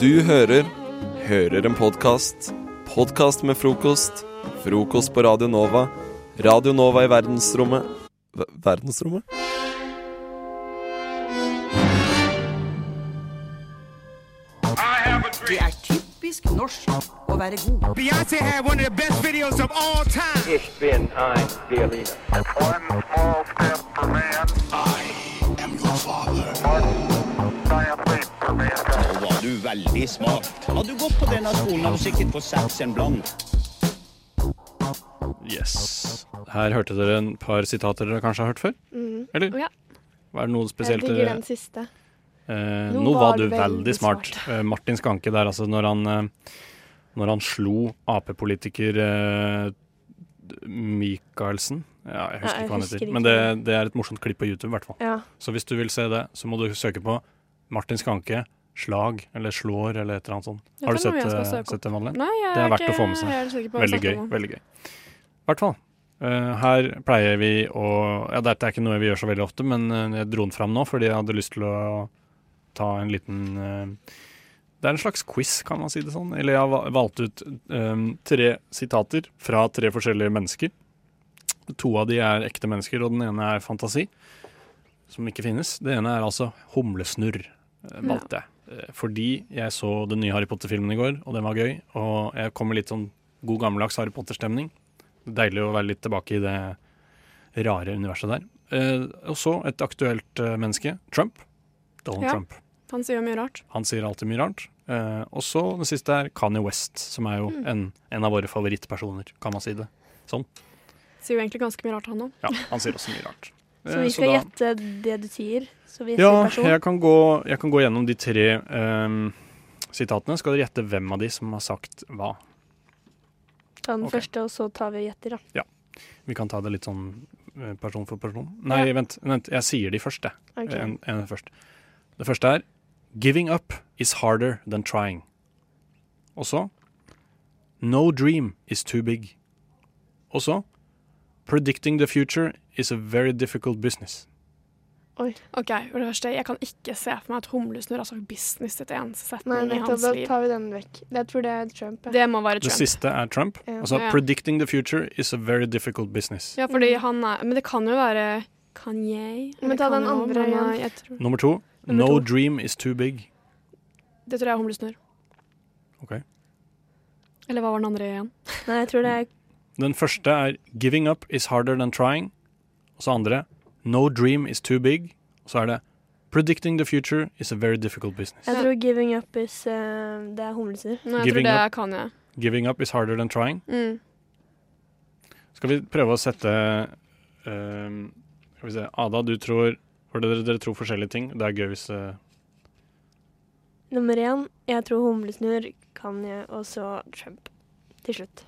Du hører Hører en podkast. Podkast med frokost. Frokost på Radio Nova. Radio Nova i verdensrommet Ver- Verdensrommet? Det er typisk norsk å være god. Beyonce had one of the best videos of all time. Ich bin ein Eh, Berliner. var du veldig smart. Hadde du gått på denne skolen, hadde du sikkert fått seks en blank. Yes. Her hørte dere en par sitater dere kanskje har hørt før? Eller? Mhm. Ja. Var det noe Jeg spesielt eh, digger dere den siste. eh, Nå var du veldig smart. Eh, Martin Skanke der, altså, når han, eh, når han slo Ap-politiker eh, Michaelsen ja, Nei, Jeg husker jeg ikke hva han husker heter. ikke. Men det, det er et morsomt klipp på YouTube, i hvert fall. Ja. Så hvis du vil se det, så må du søke på Martin Skanke slag, eller slår, eller et eller annet sånt. Ja, Har du det er noe jeg sett, skal eh, søke sett det, Madeleine? Nei, jeg Det er verdt ikke- å få med seg. jeg er sikker på hva jeg Veldig gøy. snakker om. veldig gøy. I hvert fall. eh, her pleier vi å ja, Dette er ikke noe vi gjør så veldig ofte, men eh, jeg dro den fram nå fordi jeg hadde lyst til å ta en liten eh, Det er en slags quiz, kan man si det sånn. Eller jeg har va- valgt ut eh, tre sitater fra tre forskjellige mennesker. To av de er ekte mennesker, og den ene er fantasi, som ikke finnes. Det ene er altså humlesnurr, eh, valgte jeg. Eh, Fordi jeg så den nye Harry Potter-filmen i går, og den var gøy. Og jeg kommer litt sånn god gammeldags Harry Potter-stemning. Deilig å være litt tilbake i det rare universet der. Eh, og så et aktuelt eh, menneske, Trump. Donald Ja. Trump. Han sier mye rart. Han sier alltid mye rart. Eh, og så det siste er Kanye West, som er jo Mm. en, en av våre favorittpersoner, kan man si det. sånn. Sier jo egentlig ganske mye rart, han òg. Ja, han sier også mye rart. Så Eh, vi skal da- gjette det du sier? Så vi Ja, sier person? jeg kan, gå, jeg kan gå gjennom de tre ehm, sitatene. Skal dere gjette hvem av de som har sagt hva? Ta den ok. første, og så tar vi og gjetter, da. Vi kan ta det litt sånn eh, person for person. Nei, vent, vent, jeg sier de først, jeg. Ok. En, en først. Det første er Giving up is harder than trying. Og så No dream is too big. Og så Predicting the future is a very difficult business. Ok, for det første, Jeg kan ikke se for meg at humlesnurr har sagt business til et eneste Nei, setning i nettopp. hans Da liv. tar vi den vekk. Jeg tror det er Trump. Ja. Det må være Det Trump. siste er Trump. Ja. Altså Ja. Predicting the future is a very difficult business. Ja, fordi han er, Men det kan jo være Kanye. eller Men ta den Kanye også, andre men, igjen. eh, Jeg tror, Nummer to Nummer No to. dream is too big. det tror jeg er humlesnurr. Ok. Eller hva var den andre igjen? Nei, jeg tror det er Den første er Giving up is harder than trying. Og så andre No dream is too big. Og så er det Predicting the future is a very difficult business. Jeg tror giving up is eh, Det er humleser. Nei, jeg Giving tror det er Kanye. Giving up is harder than trying. Mm. Skal vi prøve å sette ehm, Skal vi se Ada, du tror for dere, dere tror forskjellige ting. Det er gøy hvis eh, Nummer én, jeg tror humlesnurr, Kanye og så Trump til slutt.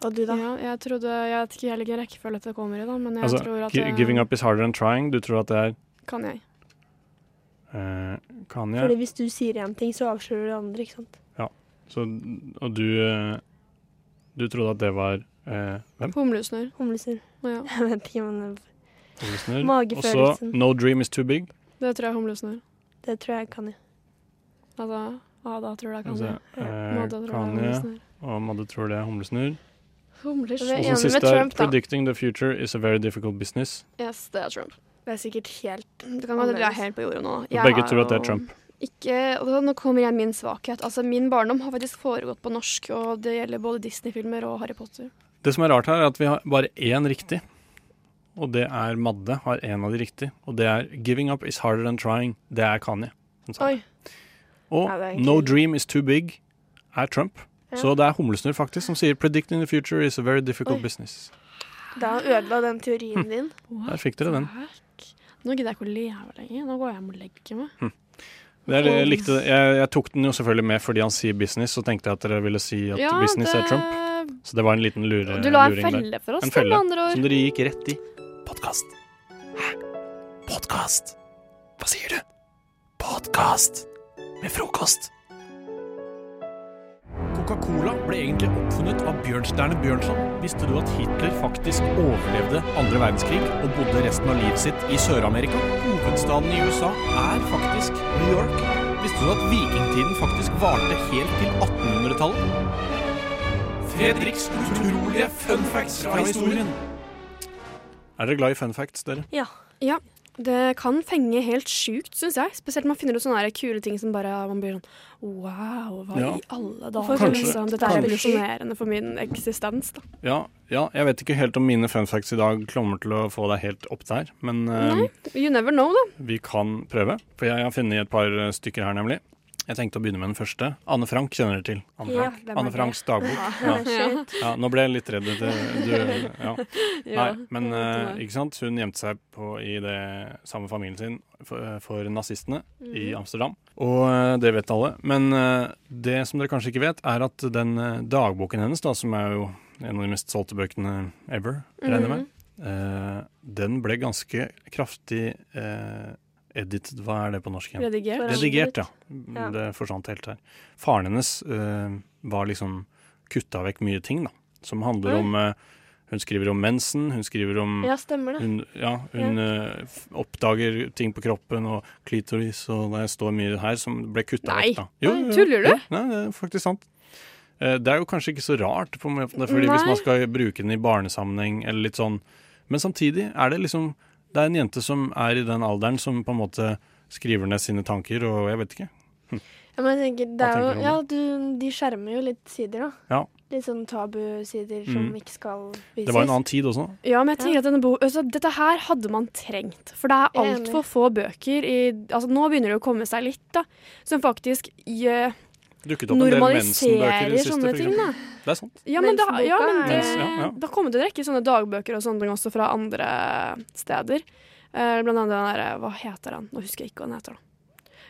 Og du, da? Ja, jeg trodde Jeg vet ikke hvilken rekkefølge dette kommer i, da, men jeg Altså, tror at gi- det- Giving up is harder than trying. Du tror at det er Kanye. eh, Kanye. Fordi hvis du sier én ting, så avslører du det andre, ikke sant? Så, og du eh, Du trodde at det var eh, Hvem? Humlesnurr. Humlesnurr. Ja, Jeg vet ikke, men Ole Snurr. Og så Magefølelsen. No dream is too big. det tror jeg er humlesnurr. det tror jeg er Kanye. Altså, Ada tror det er Altså, Kanye. eh, Madde tror det er Kanye humlesnurr. og Madde tror det er Jeg humlesnurr. er Og Humlesnurr. enig så med siste er Trump, da. 'Predicting the future is a very difficult business'. Yes, det er Trump. Mm, Det er sikkert helt Det kan godt hende vi er helt på jordet nå. Og Jeg begge har tror at det er jo Trump. Ikke, og da- nå kommer igjen min svakhet. Altså, Min barndom har faktisk foregått på norsk, og det gjelder både Disney-filmer og Harry Potter. Det som er rart her, er at vi har bare én riktig. Og det er Madde har én av de riktig. Og det er 'Giving up is harder than trying'. Det er Kanye. som sa det. Oi. Og Ja, det er egentlig- 'No dream is too big' er Trump. Ja. Så det er humlesnurr faktisk som sier 'Predicting the future is a very difficult Oi. business'. Da ødela den teorien din. Der Hm. fikk dere den. Nå gidder jeg ikke å leve lenger. Nå går jeg hjem og legger meg. Hm. Det er, det jeg, likte, det. jeg, jeg tok den jo selvfølgelig med fordi han sier business, så tenkte jeg at dere ville si at business er Trump. Så det var en liten lure, Du la en luring der. felle for oss, En da, felle med andre som ord. dere gikk rett i. Podkast. Hæ? Podkast? Hva sier du? Podkast med frokost. Coca-Cola ble egentlig oppfunnet av Bjørnstjerne Bjørnson. Visste du at Hitler faktisk overlevde andre verdenskrig og bodde resten av livet sitt i Sør-Amerika? Hovedstaden i USA er faktisk New York. Visste du at vikingtiden faktisk varte helt til 1800-tallet? Fredriks utrolige fun facts fra historien. Er dere glad i fun facts, dere? Ja. Ja, det kan fenge helt sjukt, syns jeg. Spesielt når man finner ut sånne her kule ting som bare man blir sånn Wow, hva Ja. i alle Hvorfor dager? kan- Liksom, dette er Kanskje. revolusjonerende for min eksistens, da. Ja, ja, jeg vet ikke helt om mine fun facts i dag kommer til å få deg helt opp der, men eh, Nei. You never know, da. vi kan prøve. For jeg har funnet et par eh, stykker her, nemlig. Jeg tenkte å begynne med den første. Anne Frank kjenner dere til. Anne, Ja, Frank. hvem er Anne det? Franks dagbok. Ja. Shit. Ja, nå ble jeg litt redd. Det, du, ja. Nei, Ja, men jeg vet eh, det. ikke sant? hun gjemte seg på, i det samme familien sin for, eh, for nazistene i Mhm. Amsterdam. Og eh, det vet alle. Men eh, det som dere kanskje ikke vet, er at den eh, dagboken hennes, da, som er jo en av de mest solgte bøkene ever, regner jeg med, Mhm. eh, den ble ganske kraftig eh, edited. Hva er det på norsk igjen? Redigert. Forandret. Redigert, ja. Ja. Det forsvant helt her. Faren hennes eh, var liksom kutta vekk mye ting, da. Som handler Oi. om eh, Hun skriver om mensen, hun skriver om Mhm. ja, stemmer det. Hun, ja, hun eh, f- oppdager ting på kroppen og klitoris, og det står mye her som ble kutta Nei. vekk, da. Nei, tuller du? Jo, nei, det er faktisk sant. Eh, Det er jo kanskje ikke så rart, på en måte, fordi hvis Nei. man skal bruke den i barnesammenheng eller litt sånn Men samtidig er det liksom Det er en jente som er i den alderen som på en måte skriver ned sine tanker, og jeg vet ikke. Ja, men jeg tenker, det Hva er jo, tenker du om ja, du, de skjermer jo litt sider, da. Ja. Litt sånn tabusider som Mm. ikke skal vises. Det var en annen tid også. Ja, men jeg tenker at denne bo altså, Dette her hadde man trengt. For det er Jeg er altfor få bøker i altså, Nå begynner det å komme seg litt, da. Som faktisk gjør- Dukket opp en del mensenbøker i normaliserer det siste, sånne for ting, eksempel. da. Det er sant. Ja, men da, ja, men det, Mens- ja, ja. da kom det en rekke sånne dagbøker og sånne ting også fra andre steder. Eh, blant annet den derre Hva heter den? Nå husker jeg ikke hva den heter, da.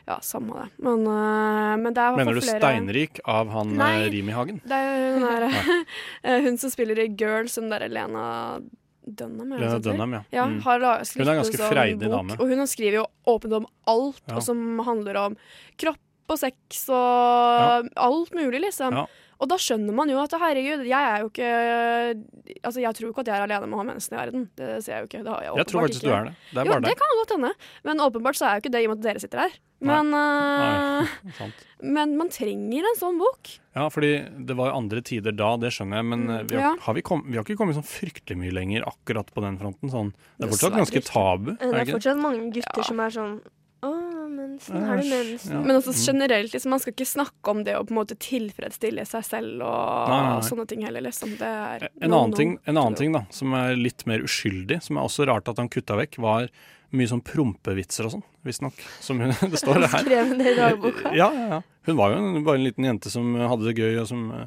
Ja, samme det. Men, eh, men det er i hvert fall Mener du flere- Steinrik av han Nei. eh, Rimi Hagen? Det er jo den der, eh, hun som spiller i Girls, hun derre Lena Dunham. er det Lena sånn? Dunham, ja. Ja, Mm. har la- Hun er ganske skrevet en sånn freidig bok, dame. Og hun skriver jo åpent om alt, Ja. og som handler om kropp og sex og alt mulig, liksom. Ja. Og da skjønner man jo at herregud, jeg er jo ikke Altså, jeg tror ikke at jeg er alene med å ha mensen i verden. Det ser jeg jo ikke. Det har jeg Jeg tror åpenbart faktisk ikke. du er det. Det er jo, bare det deg. kan godt hende. Men åpenbart så er jo ikke det i og med at dere sitter her. Nei. Men, Nei. eh, Sant. men man trenger en sånn bok. Ja, fordi det var jo andre tider da, det skjønner jeg, men Mm, eh, vi har, Ja. har vi, kom, vi har ikke kommet sånn fryktelig mye lenger akkurat på den fronten. Sånn. Det er Dessverre fortsatt ganske tabu. Eh, Det Er det er ikke? det? fortsatt mange gutter Ja. som er sånn Å, mensen. Har du Æsj, mensen? ja. Mm. Men også generelt, liksom, man skal ikke snakke om det å på en måte tilfredsstille seg selv og Nei, nei, nei. sånne ting heller, liksom. Det er En no, annen, no. ting, en annen ting da, som er litt mer uskyldig, som er også rart at han kutta vekk, var mye sånn prompevitser og sånn, visstnok. Som hun, det står her. Skrev det i dagboka. Ja, ja, ja. Hun var jo en, bare en liten jente som eh, hadde det gøy, og som eh,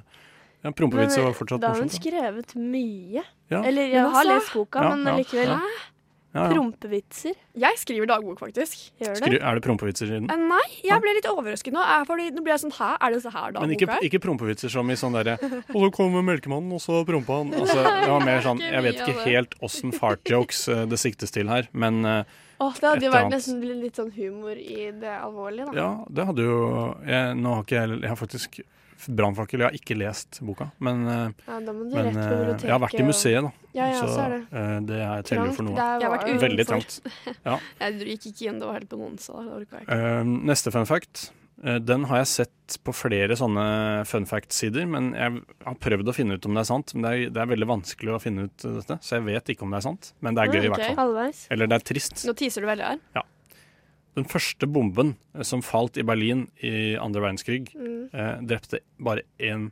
ja, Prompevitser var fortsatt da har hun morsomt. da. skrevet mye. Ja. Eller Men jeg har altså- lest boka, Ja, men ja, likevel. ja. Ja, ja. Prompevitser. Jeg skriver dagbok, faktisk. Gjør det? Skri, er det prompevitser i den? Eh, Nei, jeg ble litt overrasket nå. eh, Fordi nå blir jeg sånn Hæ, er det så her Men dagboka ikke, er? ikke prompevitser som i sånn derre Og så kom melkemannen, og så prompa han. Altså, det var mer sånn, jeg vet ikke helt åssen fart jokes eh, det siktes til her, men eh, Åh, det hadde jo Et vært annet. nesten sånn. litt- litt sånn humor i det alvorlige, da. ja, det hadde jo jeg, Nå har ikke jeg Jeg har faktisk brannfakkel, jeg har ikke lest boka, men, eh, Ja, da må du men rett på eh, biblioteket. jeg har vært i og- museet, da. Ja, ja, så er det. eh, det er teller jo for noe. Der Jeg var har det vært jo- ute. Veldig utenfor. trangt. Jeg gikk ikke inn, det var helt på noen steder. Det orka jeg ikke. Eh, neste fun fact. Eh, den har jeg sett på flere sånne fun fact-sider, men jeg har prøvd å finne ut om det er sant. Men det er, det er veldig vanskelig å finne ut eh, dette, så jeg vet ikke om det er sant. Men det er Nei, gøy, i hvert ok. fall. Halvveis. Eller det er trist. Nå teaser du veldig her. Den første bomben eh, som falt i Berlin i andre verdenskrig, Mm. eh, drepte bare én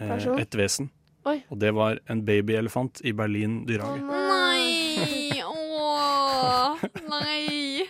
eh, Person? et vesen. Oi. Og det var en babyelefant i Berlin Å, dyrehage. Nei! Åh, nei!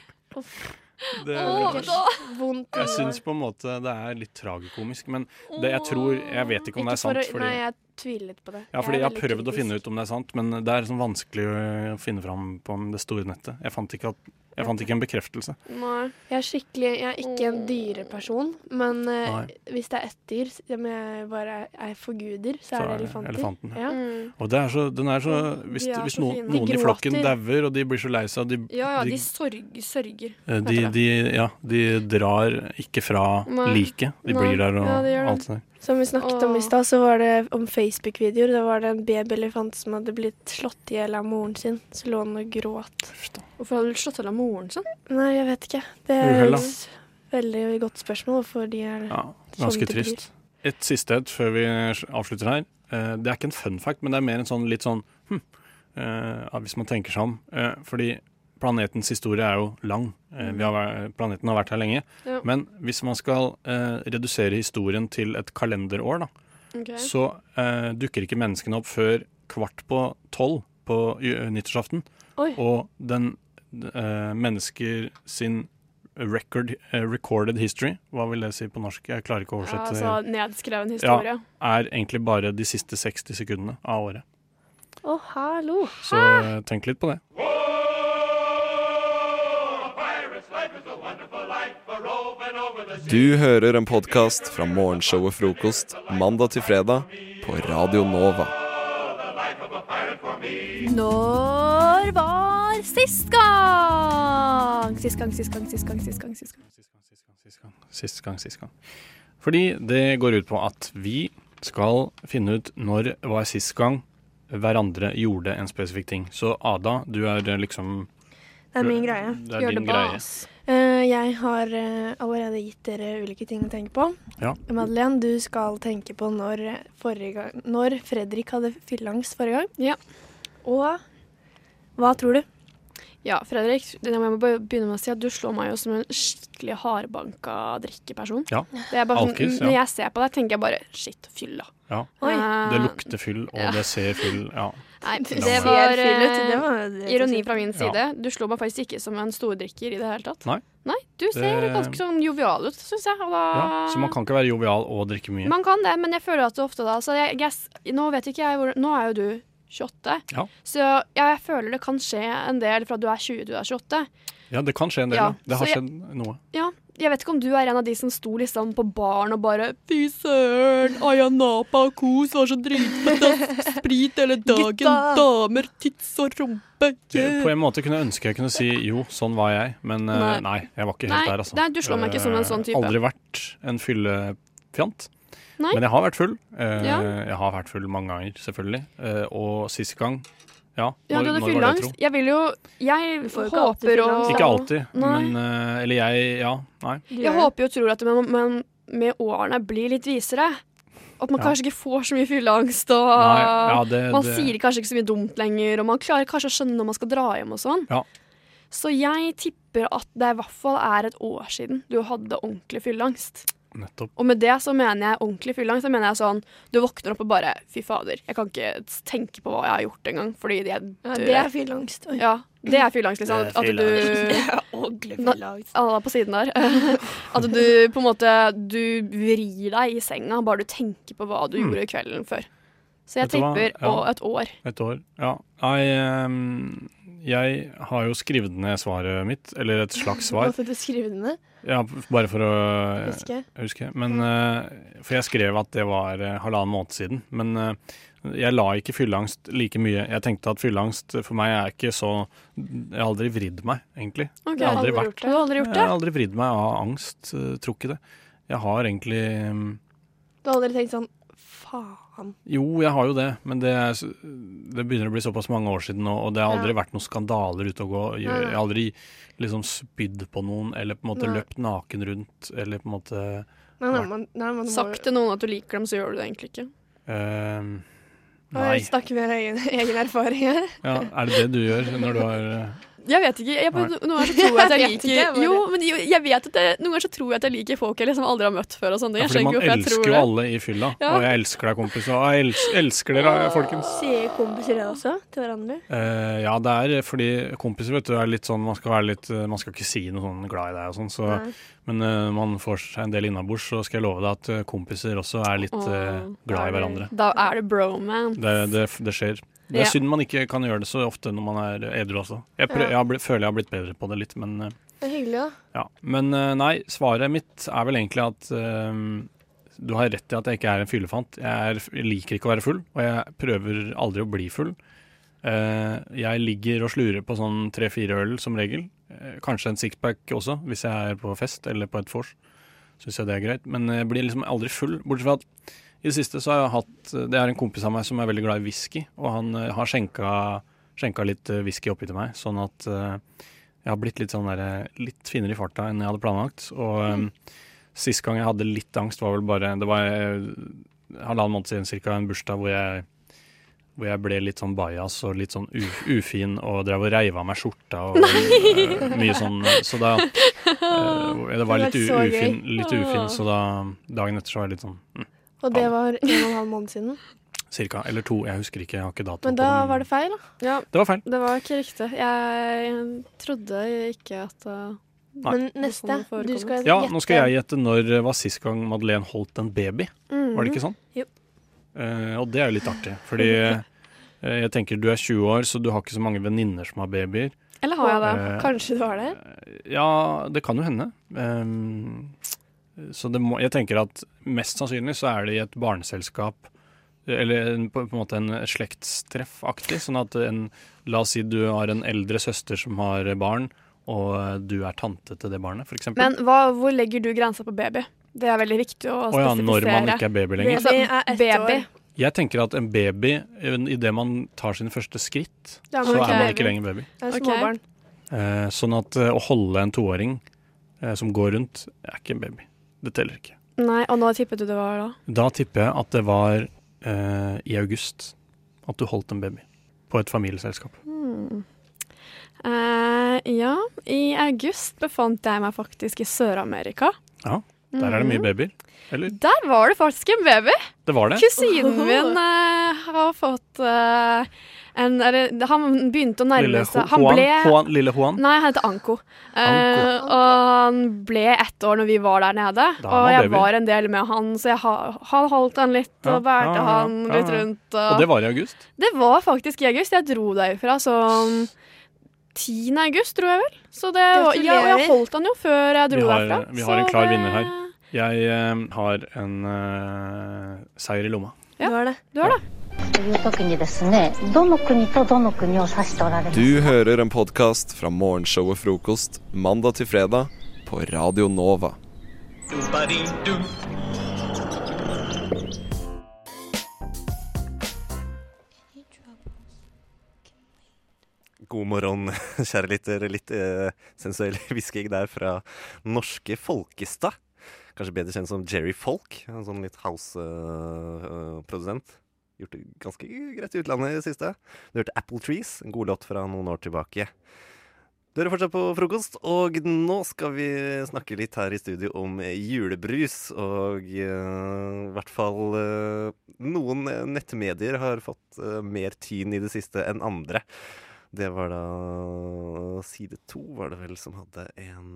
Det- Åh, da. Vondt. Jeg syns på en måte det er litt tragikomisk, men det jeg tror Jeg vet ikke om det er sant. Å, nei, jeg tviler litt på det. Ja, fordi jeg har prøvd å finne ut om det er sant, men det er sånn vanskelig å finne fram på det store nettet. Jeg fant ikke, at, jeg fant ikke en bekreftelse. Nei. Jeg er skikkelig, jeg er ikke en dyreperson, men eh, Nei. hvis det er ett dyr som jeg bare er forguder, så, er det Så er det elefanter. elefanten, ja. ja. Og det er så, den er så Hvis, De er hvis så noen, fine. noen De i flokken gråter. dauer, og de blir så lei seg, og de, Ja ja, de de, Eh, sorg, sørger. de, de, ja, de drar ikke fra Nei. liket. De Nei. blir der og Ja, de gjør det. alt det der. Som vi snakket om i Åh. stad, så var det om Facebook-videoer. Da var det en babyelefant som hadde blitt slått i hjel av moren sin. Så lå han og gråt. Uff da. Hvorfor hadde du slått til av moren sin? Nei, jeg vet ikke. Det Uhell, da. s- Veldig godt spørsmål, for de er Ja, ganske Sånn det trist. Et siste et før vi avslutter her. Eh, Det er ikke en fun fact, men det er mer en sånn litt sånn hm, eh, ja, Hvis man tenker seg om. Eh, Fordi planetens historie er jo lang. Eh, Vi har, væ- planeten har vært her lenge. Ja. Men hvis man skal eh, redusere historien til et kalenderår, da, Ok. så eh, dukker ikke menneskene opp før kvart på tolv på ju- nyttårsaften. Oi. Og den eh, mennesker sin record, eh, recorded history, hva vil det si på norsk? Jeg klarer ikke Ja, å oversette. altså nedskreven historie. Å, Er egentlig bare de siste 60 sekundene av året. hallo! Så eh, tenk litt på det. Du hører en podkast fra morgenshowet Frokost mandag til fredag på Radio Nova. Når var sist gang? Sist gang, sist gang, sist gang, sist gang. Sist gang. Sist gang, sist gang, sist gang. Sist gang, sist gang. Fordi det går ut på at vi skal finne ut når var sist gang hverandre gjorde en spesifikk ting. Så Ada, du er liksom Det er min greie. Det er Gjør det din greie. bas. Eh, jeg har eh, allerede gitt dere ulike ting å tenke på. Ja. Madeleine, du skal tenke på når, forrige gang, når Fredrik hadde fylleangst forrige gang. Ja. Og hva tror du? Ja, Fredrik, jeg må bare begynne med å si at du slår meg jo som en skikkelig hardbanka drikkeperson. Ja. Det er bare sånn, Alkis, ja. Når jeg ser på deg, tenker jeg bare shit, fylla. Ja. Oi. Eh, Det lukter fyll, og Ja. det ser fyll Ja. Nei, det Ser var Fyll ut, det eh, var det ironi fra min Ja. side. Du slår meg faktisk ikke som en stordrikker i det hele tatt. Nei. du ser Det- ganske sånn jovial ut, syns jeg. Og da... ja. Så man kan ikke være jovial og drikke mye. Man kan det, men jeg føler at det ofte da så jeg, jeg, Nå vet ikke jeg hvor Nå er jo du 28, Ja. så ja, jeg føler det kan skje en del fra du er 20 til du er 28. Ja, det kan skje en del. Ja, ja. Det har så jeg- skjedd noe. Ja, jeg vet ikke om du er en av de som sto liksom på baren og bare Fy søren, Ayanapa og kos var så dritfett, ass. Sprit hele dagen, Gutta!» damer, tits og rumpe. På en måte kunne jeg ønske jeg kunne si jo, sånn var jeg, men eh, Nei. nei, jeg var ikke Nei, helt der, altså. nei, du slår meg ikke som en Eh, sånn type. Aldri vært en fyllefjant. Nei. Men jeg har vært full. Eh, Ja. Jeg har vært full mange ganger, selvfølgelig. Eh, og sist gang Ja, Ja, du hadde når, når var det, tro? fylleangst. Jeg vil jo Jeg Du får jo ikke alltid håper og fylleangst, da. Ikke alltid, Nei. men eh, Eller jeg, ja. Nei. Jeg håper jo og tror at man, man med årene blir litt visere. At man Ja. kanskje ikke får så mye fylleangst, og nei ja, det, man det, sier kanskje ikke så mye dumt lenger, og man klarer kanskje å skjønne når man skal dra hjem og sånn. Ja. Så jeg tipper at det i hvert fall er et år siden du hadde ordentlig fylleangst. Nettopp. Og med det så mener jeg ordentlig fylleangst. Da mener jeg sånn, du våkner opp og bare Fy fader, jeg kan ikke tenke på hva jeg har gjort engang, fordi jeg Ja, dør. det er fylleangst. Oi. Ja, det er fylleangst, liksom. At, at du Ordentlig Nå- fylleangst. Alle er på siden der. At du på en måte Du vrir deg i senga bare du tenker på hva du Mm. gjorde kvelden før. Så jeg Vet du hva? tipper Ja. å, et år. Et år, ja. Nei, ehm, jeg har jo skrevet ned svaret mitt, eller et slags svar. Hvorfor du skriver den ned? Ja, bare for å Husker jeg. huske. Men, eh, for jeg skrev at det var eh, halvannen måned siden. Men eh, jeg la ikke fylleangst like mye. Jeg tenkte at fylleangst for meg er ikke så Jeg har aldri vridd meg, egentlig. Jeg har aldri vært Du har aldri gjort Jeg det? har aldri vridd meg av angst. eh, Tror ikke det. Jeg har egentlig mm, Du har aldri tenkt sånn Faen. Jo, jeg har jo det, men det, er, s- det begynner å bli såpass mange år siden nå, og det har aldri vært noen skandaler ute å gå. Jeg Nei, nei. jeg har aldri liksom spydd på noen, eller på en måte Nei. løpt naken rundt, eller på en måte Nei, nei, man, nei, man må Sagt til noen at du liker dem, så gjør du det egentlig ikke. eh, Oi, Nei. Snakker vi av egen, egen erfaring her? Ja, er det det du gjør når du har eh, Jeg vet ikke. Jeg, Nei. noen ganger så tror jeg at jeg Jeg vet liker ikke, jeg bare- Jo, men jo, jeg vet at jeg, noen ganger så tror jeg at jeg liker folk jeg liksom aldri har møtt før og sånn. ja, Jeg Fordi skjønner man ikke hvorfor jeg elsker tror jo det. alle i fylla. Ja. Og jeg elsker deg, kompis. Og jeg elsker, elsker dere, folkens. Sier kompiser det også til hverandre? Eh, ja, det er fordi kompiser, vet du, er litt sånn Man skal være litt eh, Man skal ikke si noe sånn glad i deg og sånn, så Nei. Men eh, man får seg en del innabords, så skal jeg love deg at eh, kompiser også er litt eh, Åh, glad i er det- hverandre. Da er det broman. Det, det, det skjer. Det Ja. er synd man ikke kan gjøre det så ofte når man er edru også. Jeg, prø Ja. jeg har blitt, føler jeg har blitt bedre på det litt, men eh, Det er hyggelig, da. ja. Men eh, nei, svaret mitt er vel egentlig at eh, du har rett i at jeg ikke er en fyllefant. Jeg, er, jeg liker ikke å være full, og jeg prøver aldri å bli full. Eh, jeg ligger og slurer på sånn tre-fire øl som regel. Eh, kanskje en sixpack også, hvis jeg er på fest eller på et vors. Syns jeg det er greit. Men jeg blir liksom aldri full, bortsett fra at i det siste så har jeg hatt Det er en kompis av meg som er veldig glad i whisky, og han eh, har skjenka, skjenka litt eh, whisky oppi til meg, sånn at eh, Jeg har blitt litt, sånn der, litt finere i farta enn jeg hadde planlagt. Og eh, sist gang jeg hadde litt angst, var vel bare Det var eh, halvannen måned siden cirka, en bursdag hvor jeg, hvor jeg ble litt sånn bajas og litt sånn u, ufin og drev og reiv av meg skjorta og eh, mye sånn. Så da eh, Det var Det litt, var u, så gøy. ufin, litt ufin, Åh. så da dagen etter så var jeg litt sånn mm, Og det var en og en halv måned siden. cirka. Eller to, jeg husker ikke, jeg har ikke datoen Men på da det, men var det feil, da. Ja, Det var feil. det var ikke riktig. Jeg trodde ikke at eh, Nei. Men neste. Sånn forekommer. Du skal Ja, nå skal jeg gjette når eh, var sist gang Madeleine holdt en baby. Mm. Var Mm. det ikke sånn? Jo. Eh, og det er jo litt artig, fordi eh, jeg tenker du er 20 år, så du har ikke så mange venninner som har babyer. Eller har jeg det? Eh, Kanskje du har det? Ja, det kan jo hende. Eh, så det må, jeg tenker at mest sannsynlig så er det i et barneselskap, eller en, på, på en måte en slektstreff-aktig. Sånn at en, la oss si du har en eldre søster som har barn, og eh, du er tante til det barnet, f.eks. Men hva, hvor legger du grensa på baby? Det er veldig viktig å Å ja, spesifisere. når man ikke er baby lenger. Altså, Baby er ett baby. år. Jeg tenker at en baby, idet man tar sine første skritt, Ja, men så ok. er man baby. ikke lenger baby. Det er Ok. småbarn. Eh, sånn at eh, å holde en toåring eh, som går rundt, er ikke en baby. Det teller ikke. Nei, og nå tippet du det var da. Da tipper jeg at det var eh, i august at du holdt en baby. På et familieselskap. Hmm. Eh, ja, i august befant jeg meg faktisk i Sør-Amerika. Ja, Der er det Mhm. mye babyer. Eller? Der var det faktisk en baby! Det var det. Kusinen min eh, har fått eh, en Eller han begynte å nærme Lille Ho- seg Han Juan, ble Juan, lille Juan. Nei, han heter Anko. Eh, Anko. og han ble ett år når vi var der nede. Da er Og han jeg baby. var en del med han, så jeg ha, han holdt han litt Ja, og bærte ja, ja, han ja, litt ja. rundt. Og det var i august. Det var faktisk i august. Jeg dro derfra sånn 10. august, tror jeg vel. Så det var, ja, og jeg Gratulerer. holdt han jo før jeg dro Vi har- eh, derfra. vi har en Så klar det- vinner her. Jeg eh, har en eh, seier i lomma. Ja. Du har det. Du har det. という時にですねどの国とどの国を指しておられます Du hører en podkast fra morgenshowet Frokost mandag til fredag på Radio Nova. God morgen, kjære lytter. Litt eh, sensuell hvisking der fra norske Folkestad. Kanskje bedre kjent som Jerry Folk. En sånn litt house-produsent. Gjort det ganske greit i utlandet i det siste. Du hørte Apple Trees, en god låt fra noen år tilbake. Du hører fortsatt på frokost, og nå skal vi snakke litt her i studio om julebrus. Og eh, i hvert fall eh, noen eh, nettmedier har fått eh, mer tyn i det siste enn andre. Det var da Side 2 var det vel som hadde en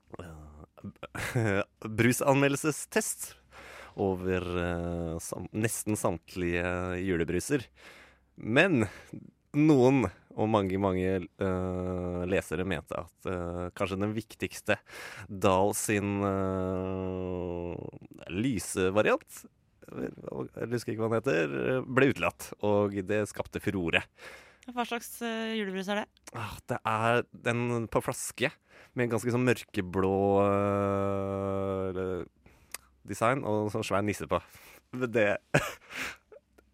eh, brusanmeldelsestest over eh, sam nesten samtlige julebruser. Men noen og mange, mange eh, lesere mente at eh, kanskje den viktigste Dahl sin eh, lyse variant jeg husker ikke hva den heter, ble utelatt. Og det skapte furore. Hva slags eh, julebrus er det? Ah, det er den på flaske med en ganske sånn mørkeblå øh, design og sånn svær nisse på. Men det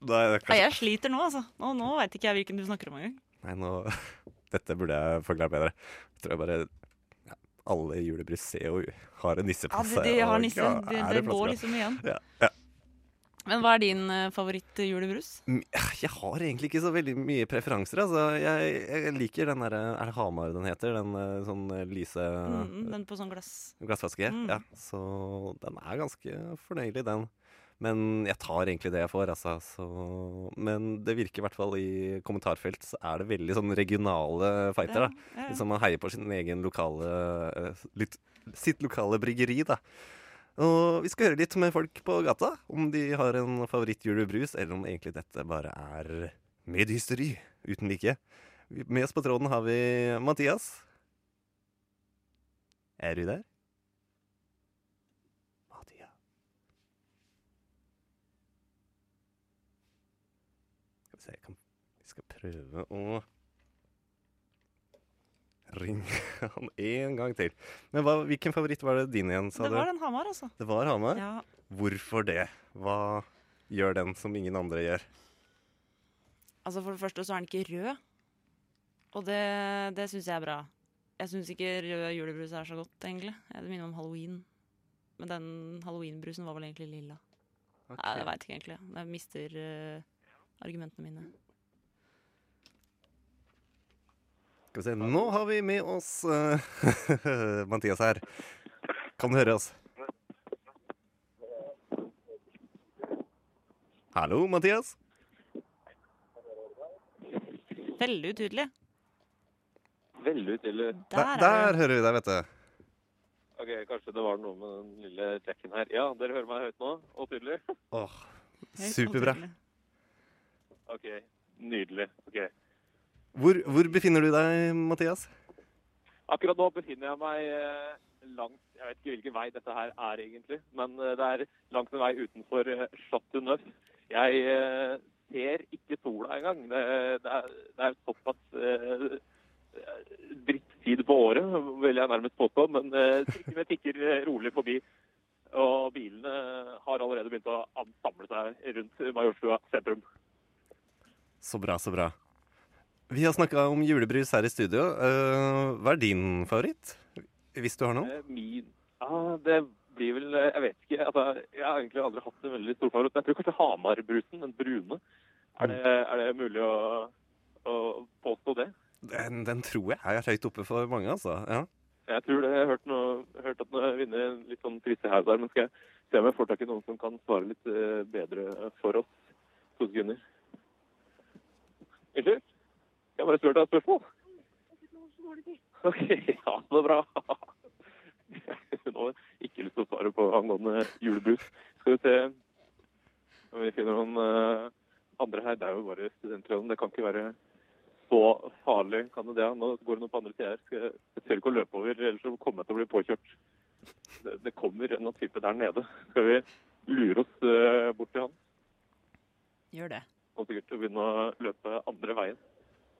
Nei, det er kanskje, Jeg sliter nå, altså. Nå, nå veit ikke jeg hvilken du snakker om engang. nei nå, dette burde jeg forklare bedre. Jeg tror jeg bare ja, Alle julebrus ser jo har en nisse på Ja, seg. det, det har og- nisse. ja, Det, er det flaske, går da? liksom igjen. Ja, ja. Men hva er din eh, favorittjulebrus? Mm, Jeg har egentlig ikke så veldig mye preferanser. Altså. Jeg, jeg liker den derre Er det Hamar den heter? Den eh, sånn eh, lyse Mm, den på sånn glass. glassflaske? Mm. Ja. Så den er ganske fornøyelig, den. Men jeg tar egentlig det jeg får, altså. Så, men det virker i hvert fall i kommentarfelt så er det veldig sånn regionale fighter, da. Ja, ja. Liksom man heier på sin egen lokale eh, litt, Sitt lokale bryggeri, da. Og vi skal høre litt med folk på gata om de har en favorittjulebrus, eller om egentlig dette bare er medhysteri uten like. Med oss på tråden har vi Mathias. Er du der? Mathias Skal vi se, jeg kan Vi skal prøve å ringe han en gang til. Men hva, hvilken favoritt var det din igjen, sa Det du? var den Hamar, altså. Det var Hamar? Ja. Hvorfor det? Hva gjør den som ingen andre gjør? Altså For det første så er den ikke rød. Og Og det, det syns jeg er bra. Jeg syns ikke rød julebrus er så godt, egentlig. Det minner om halloween. Men den halloweenbrusen var vel egentlig lilla. Nei, jeg veit ikke egentlig. Jeg mister eh, argumentene mine. Skal vi se, nå har vi med oss eh, Mathias her. Kan du høre oss? Hallo, Mathias? Veldig utydelig. Veldig utydelig. Der, der, hører vi deg, vet du. Ok, kanskje det var noe med den lille trekken her. Ja, dere hører meg høyt nå, og tydelig? Åh, superbra. Ok, nydelig. Ok. Hvor, hvor befinner du deg, Mathias? Akkurat nå befinner jeg meg eh, langt, jeg vet ikke hvilken vei dette her er egentlig, men eh, det er langt en vei utenfor eh, Chateau Neuf. Jeg eh, ser ikke sola engang. Det, det, er, det er såpass eh, drittid på året, vil jeg nærmest påstå, men eh, trikkene tikker eh, rolig forbi. Og bilene har allerede begynt å ansamle seg rundt Majorstua sentrum. Så bra, så bra. Vi har snakka om julebrus her i studio. Eh, hva er din favoritt? Hvis du har noen? Eh, Min ja, Det blir vel eh, Jeg vet ikke. Altså, jeg har egentlig aldri hatt en veldig stor favoritt. men Jeg tror kanskje Hamarbrusen, den brune. Er Mm. det, er det mulig å, å påstå det? Den, den tror jeg er høyt oppe for mange, altså. Ja. Jeg tror det. Jeg har hørt, noe, hørt at den vinner en litt sånn prisehaug der. Men skal jeg se om jeg får tak i noen som kan svare litt eh, bedre for oss. To sekunder. Unnskyld? Skal jeg bare spørre deg et spørsmål? OK. Ja, det er bra. Hun har ikke lyst til å svare på angående julebrus. Skal vi se om vi finner noen eh, andre her. Det er jo bare studentradioen. Det kan ikke være så farlig, kan det det? Nå går hun opp på andre sida her. Skal jeg- Jeg tør ikke å løpe over, ellers så kommer jeg til å bli påkjørt. Det, det kommer en annen type der nede. Skal vi lure oss eh, bort til han? Gjør det. og sikkert å begynne å løpe andre veien.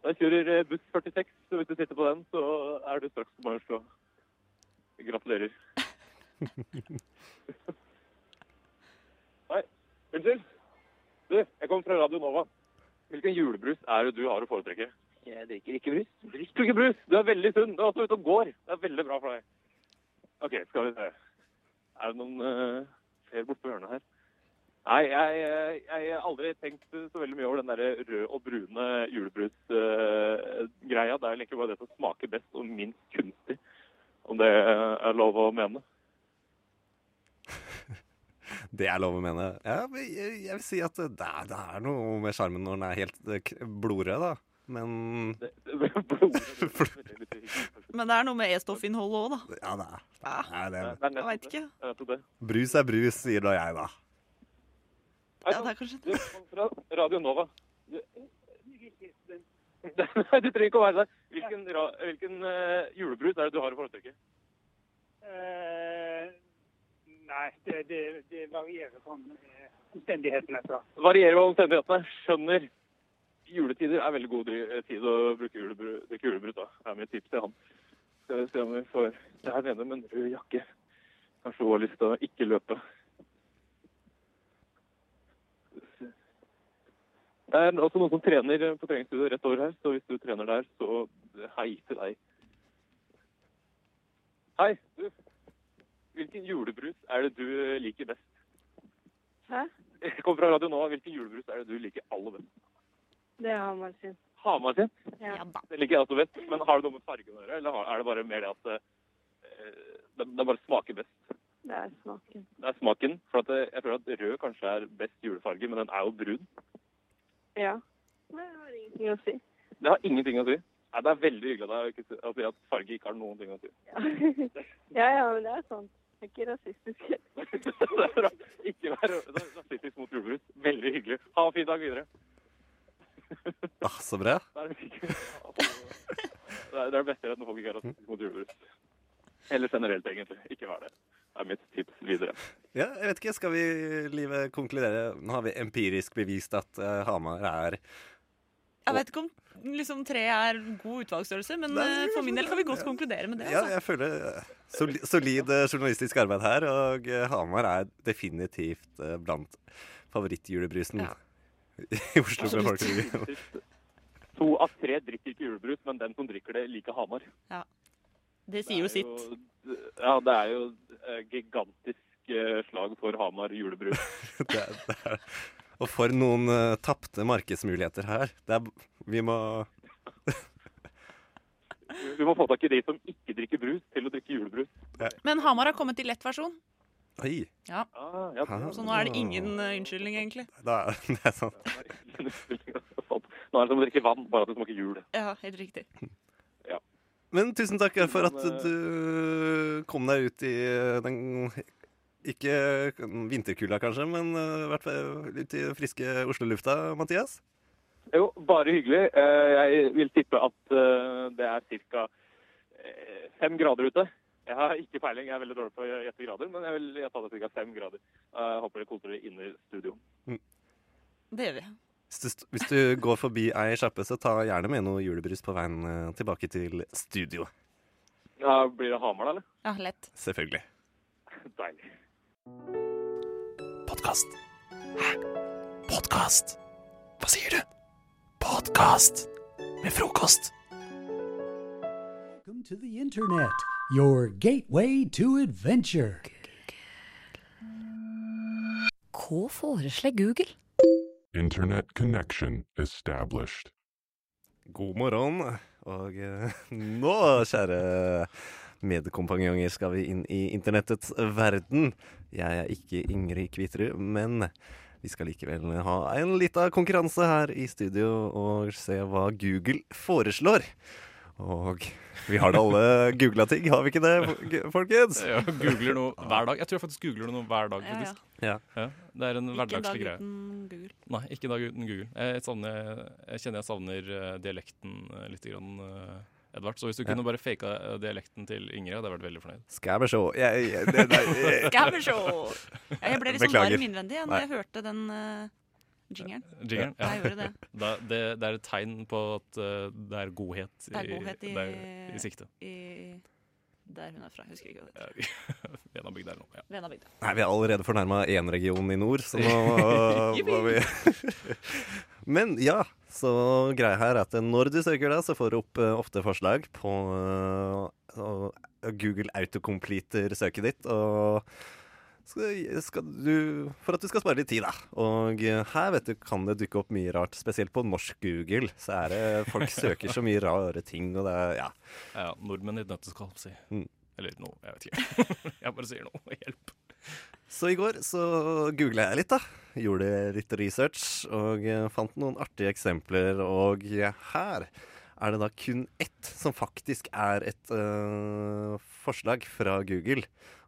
Jeg kjører eh, buss 46, så hvis du sitter på den, så er du straks på Majorstua. Gratulerer. Nei, unnskyld. Du, jeg kom fra Radio Nova. Hvilken julebrus er det du har å foretrekke? Jeg drikker ikke brus. Drikker du ikke brus? Du er veldig sunn. Du er også ute og går. Det er veldig bra for deg. OK, skal vi se. Er det noen eh, flere borte på hjørnet her? Nei, jeg, jeg, jeg har aldri tenkt så veldig mye over den der rød og brune julebrusgreia. det er vel egentlig bare det som smaker best og minst kunstig, om det er lov å mene. Det er lov å mene. Ja, men jeg, jeg vil si at det, er- det er noe med sjarmen når den er helt eh, k- blodrød, da. Men Men det er noe med E-stoffinnholdet òg, da. Ah. Ja, det er Nei, det er- Jeg veit ikke. brus er brus, sier da jeg, da. Ja, det er kanskje det. Fra Radio Nova. Du, Nei, du trenger ikke å være der. Hvilken, ra, hvilken eh, julebrus er det du har i foretrekket? Eh, nei, det, det, det varierer sånn eh, omstendighetene. Så. Varierer hva omstendighetene. Skjønner. Juletider er veldig god dri- tid å bruke julebru- drikke julebrus, da. Det er mitt tips til han. Skal vi se om vi får Det her nede med en rød jakke. Kanskje hun har lyst til å ikke løpe. Det er også noen som trener på treningsstudio rett over her, så hvis du trener der, så hei til deg. Hei, du. Hvilken julebrus er det du liker best? Hæ? Jeg kommer fra Radio Nova. Hvilken julebrus er det du liker aller best? Det har man sin. Hamar sin? Ja. Det liker jeg også best. Men har det noe med fargen å gjøre, eller har- er det bare mer det at eh, det, det bare smaker best? Det er smaken. Det er smaken. For at eh, jeg føler at rød kanskje er best julefarge, men den er jo brun. Ja. Det har ingenting å si. Det har ingenting å si. Nei, det er veldig hyggelig at, jeg ikke- å si at farge ikke har noen ting å si. ja, ja, men det er sånn. Det er ikke rasistisk. det er bra. Ikke vær rasistisk mot julebrus. Veldig hyggelig. Ha en fin dag videre. Ah, så bra. Det er det er det beste at folk ikke er rasistiske mot julebrus. Eller generelt, egentlig. Ikke vær det. Det er mitt tips videre. Ja, jeg vet ikke, skal vi livet konkludere? Nå har vi empirisk bevist at eh, Hamar er Jeg veit ikke om liksom, tre er god utvalgsstørrelse, men eh, for min del kan vi godt konkludere med det. Ja, Altså. jeg føler eh, soli, solid eh, journalistisk arbeid her, og eh, Hamar er definitivt eh, blant favorittjulebrusen i Oslo Absolutt. befolkningen. To av tre drikker ikke julebrus, men den som drikker det, liker Hamar. Ja. Det sier jo er sitt. Ja, det er jo eh, gigantisk eh, slag for Hamar julebrus. det, er- det er, og for noen uh, tapte markedsmuligheter her. Det er, vi må Vi må få tak i de som ikke drikker brus, til å drikke julebrus. Men Hamar har kommet i lett versjon. Oi! Ja. Ah, Så nå er det ingen eh, unnskyldning, egentlig. Da, det er sant. Nå er det som å drikke vann, bare at det smaker jul. Ja, helt riktig. Men tusen takk for at Men, eh, du kom deg ut i eh, den Ikke vinterkulda, kanskje, men eh, i hvert fall ut i friske Oslo-lufta, Mathias. Jo, bare hyggelig. Eh, Jeg vil tippe at eh, det er ca. fem grader ute. Jeg har ikke peiling, jeg er veldig dårlig på å gjette grader, men jeg vil gjette at det er ca. fem grader. Eh, Jeg håper dere koser dere inne i studio. Det gjør vi. Hvis du, st- hvis du går forbi ei sjappe, så ta gjerne med noe julebrus på veien eh, tilbake til studio. Ja, blir det Hamar, da, eller? Ja, lett. Selvfølgelig. Deilig. Podkast. Hæ? Podkast? Hva sier du? Podkast med frokost. Welcome to the internet, your gateway to adventure. Hva foreslår Google? Internet connection established. God morgen. Og eh, nå, kjære medkompanjonger, skal vi inn i internettets verden. Jeg er ikke Ingrid Kviterud, men vi skal likevel ha en lita konkurranse her i studio og se hva Google foreslår. Og vi har da alle googla ting, har vi ikke det, folkens? Ja, googler noe hver dag. Jeg tror jeg faktisk googler noe hver dag. Ja, ja. faktisk. Ja, det er en hverdagslig greie. uten Google. Nei, ikke dag uten Google. Jeg, savner, jeg kjenner jeg savner eh, dialekten eh, litt, grann, eh, Edvard. Så hvis du Ja. kunne bare faka eh, dialekten til Ingrid, hadde jeg vært veldig fornøyd. Skal vi se. Jeg, jeg, det, nei, jeg- Skal vi sjå. Ja, Jeg ble litt sånn Beklager. varm innvendig ja, når jeg Nei. hørte den eh, jingeren. Eh, Jingeren, Ja, jeg gjorde det. Da, det. Det er et tegn på at eh, det er godhet, Det er godhet i, det er i sikte. i- der hun er fra. Husker ikke hva det heter. Venabygd er det nå. Ja. Venabygda. Nei, vi er allerede fornærma én region i nord, så nå øh, må vi Men ja, så greia her er at når du søker da, så får du opp øh, ofte forslag på øh, å- Google autocompleter-søket ditt. Og skal, skal du, for at du skal spare litt tid, da. Og øh, her vet du, kan det dukke opp mye rart. Spesielt på norsk Google. Så er det folk søker så mye rare ting, og det er ja. Ja, nordmenn i et nøtteskall, si. Mm. Eller noe, jeg vet ikke. jeg bare sier noe. Hjelp. Så i går så googla jeg litt, da. Gjorde litt research og eh, fant noen artige eksempler. Og her er det da kun ett som faktisk er et eh, forslag fra Google.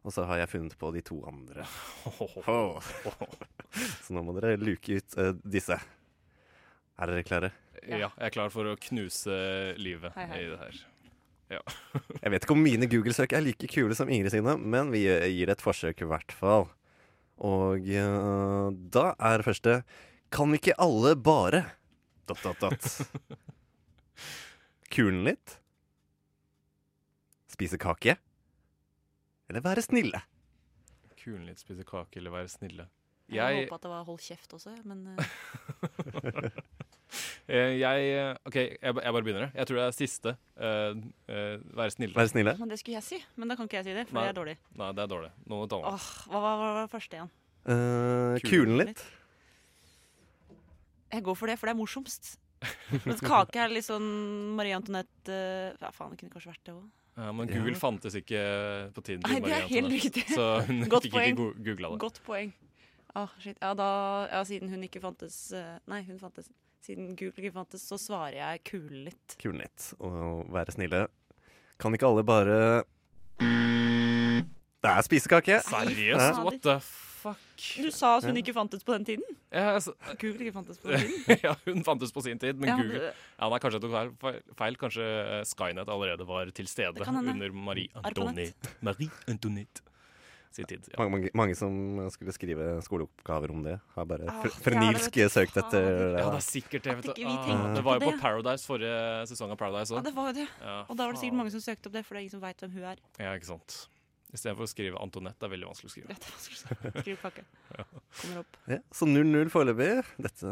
Og så har jeg funnet på de to andre. Ho. Så nå må dere luke ut eh, disse. Er dere klare? Ja, jeg er klar for å knuse livet Hei, hei. i det her. Ja. Jeg vet ikke om mine Google-søk er like kule som Ingrid sine, men vi gir det et forsøk i hvert fall. Og eh, da er det første Kan ikke alle bare Dott, dott, dott. Kulen litt? Spise kake? Eller være snille? Kulen litt, spise kake eller være snille. Jeg håper Jeg, håpa at det var 'hold kjeft' også, men eh, eh, jeg eh, OK, jeg, ba- jeg bare begynner. jeg. Jeg tror det er siste. Eh, eh, være snille. Være snille? Men det skulle jeg si. Men da kan ikke jeg si det, for Nei. jeg er dårlig. Nei, det er dårlig. Noe annet. Åh, hva var hva var det første igjen? Eh, kulen litt? Jeg går for det, for det er morsomst. Mens kake er litt sånn Marie Antoinette eh, Ja, faen, det kunne kanskje vært det òg. Ja, Eh, men Ja. Google fantes ikke på tiden til Nei, det er Marie helt Antoinette, riktig. Så hun Godt fikk poeng. ikke go- googla det. Godt poeng. Ah, shit. Ja, da, ja, siden hun ikke fantes eh, Nei, hun fantes Siden Google ikke fantes, så svarer jeg kule litt. Kulen litt og være snille. Kan ikke alle bare Det er spisekake! Seriøst? What the fuck? Du sa at hun Ja. ikke fantes på den tiden? Ja, altså- Google ikke fantes på den tiden? ja, hun fantes på sin tid, men Ja, det- Google Ja, nei, Kanskje jeg tok feil- feil. feil. Kanskje eh, Skynet allerede var til stede Det kan hende. under Marie Arpanet. Antoinette. Marie Antoinette sin tid. Ja. Mange, mange, mange som skulle skrive skoleoppgaver om det, har bare fr Åh, det er det, frenilsk vet du. søkt etter det. Ja, da. det er sikkert det. At Vet du. ikke vi Ah, tenker på det var jo på det. Paradise forrige sesong av Paradise òg. Ja, det var jo det. Ja, Og da var det sikkert faen. mange som søkte opp det, for det er ingen som veit hvem hun er. Ja, ikke sant. Istedenfor å skrive Antonette. Det er veldig vanskelig å skrive. Det er vanskelig å skrive. Skriv pakke. Kommer opp. Ja, så 0-0 foreløpig. Dette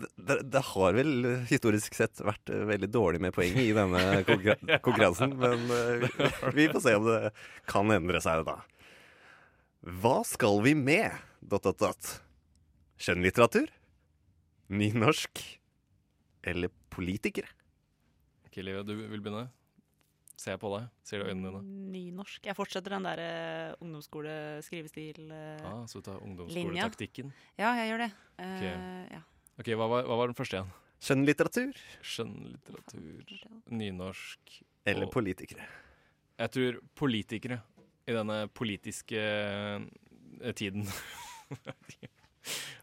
det, det, det har vel historisk sett vært eh, veldig dårlig med poeng i denne konkurra- konkurransen, men eh, vi, vi får se om det kan endre seg da. Hva skal vi med? Dot, dot, dot. Skjønnlitteratur? Nynorsk? Eller politikere? Ok, Liv, du vil begynne? Ser jeg på deg? Ser det i øynene dine? Nynorsk. Jeg fortsetter den der eh, ungdomsskole-skrivestil-linja. Ah, så du tar ungdomsskoletaktikken. Ja, jeg gjør det. Eh, Ok. ja. Ok, hva var, hva var den første igjen? Skjønnlitteratur? Skjønnlitteratur, nynorsk Eller og- politikere? Jeg tror politikere i denne politiske eh, tiden.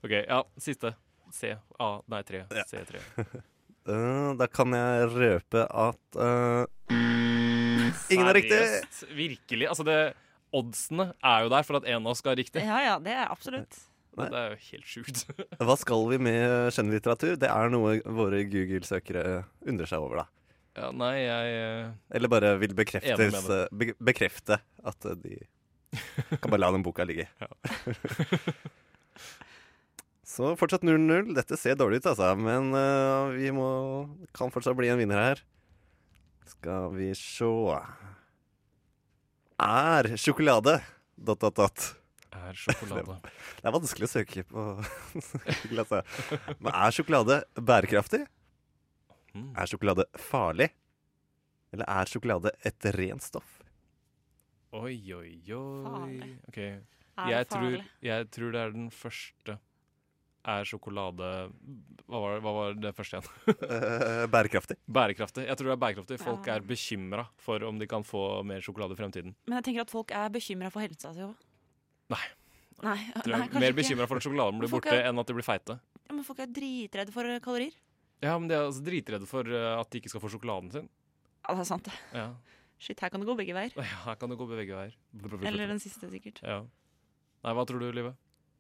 OK, ja, siste. C. A. Nei, tre. C3. Eh, da kan jeg røpe at eh, Ingen er riktig! Seriøst, Virkelig. Altså, det, oddsene er jo der for at en av oss skal ha riktig. ja, ja, det er absolutt. Nei. Det er jo helt sjukt. Hva skal vi med skjønnlitteratur? Det er noe våre Google-søkere undrer seg over, da. Ja, nei, jeg eh, Eller bare vil Enig bekreftes, med be bekrefte at de kan bare la den boka ligge. Så fortsatt 0-0. Dette ser dårlig ut, altså, men eh, vi må kan fortsatt bli en vinner her. Skal vi sjå Er sjokolade dot, dot, dot. Er sjokolade. Det er vanskelig å søke på Google, altså. Men er sjokolade bærekraftig? Hmm. Er sjokolade farlig? Eller er sjokolade et rent stoff? Oi, oi, oi. Farlig. OK. det Jeg tror, farlig? jeg tror det er den første Er sjokolade Hva var, hva var det første Eh, igjen? bærekraftig. Bærekraftig. Jeg tror det er bærekraftig. Folk Ja. er bekymra for om de kan få mer sjokolade i fremtiden. Men jeg tenker at folk er bekymra for helsa si òg. Nei. Nei, nei, Jeg tror jeg er kanskje mer ikke. bekymra for at sjokoladen blir Folk borte er- enn at de blir feite. Ja, men folk er dritredde for kalorier. Ja, men de er altså dritredde for eh, at de ikke skal få sjokoladen sin. Ja, det er sant, det. Ja. Shit, her kan det gå begge veier. Ja, Her kan det gå begge veier. Eller den siste, sikkert. Ja. Nei, hva tror du, Live?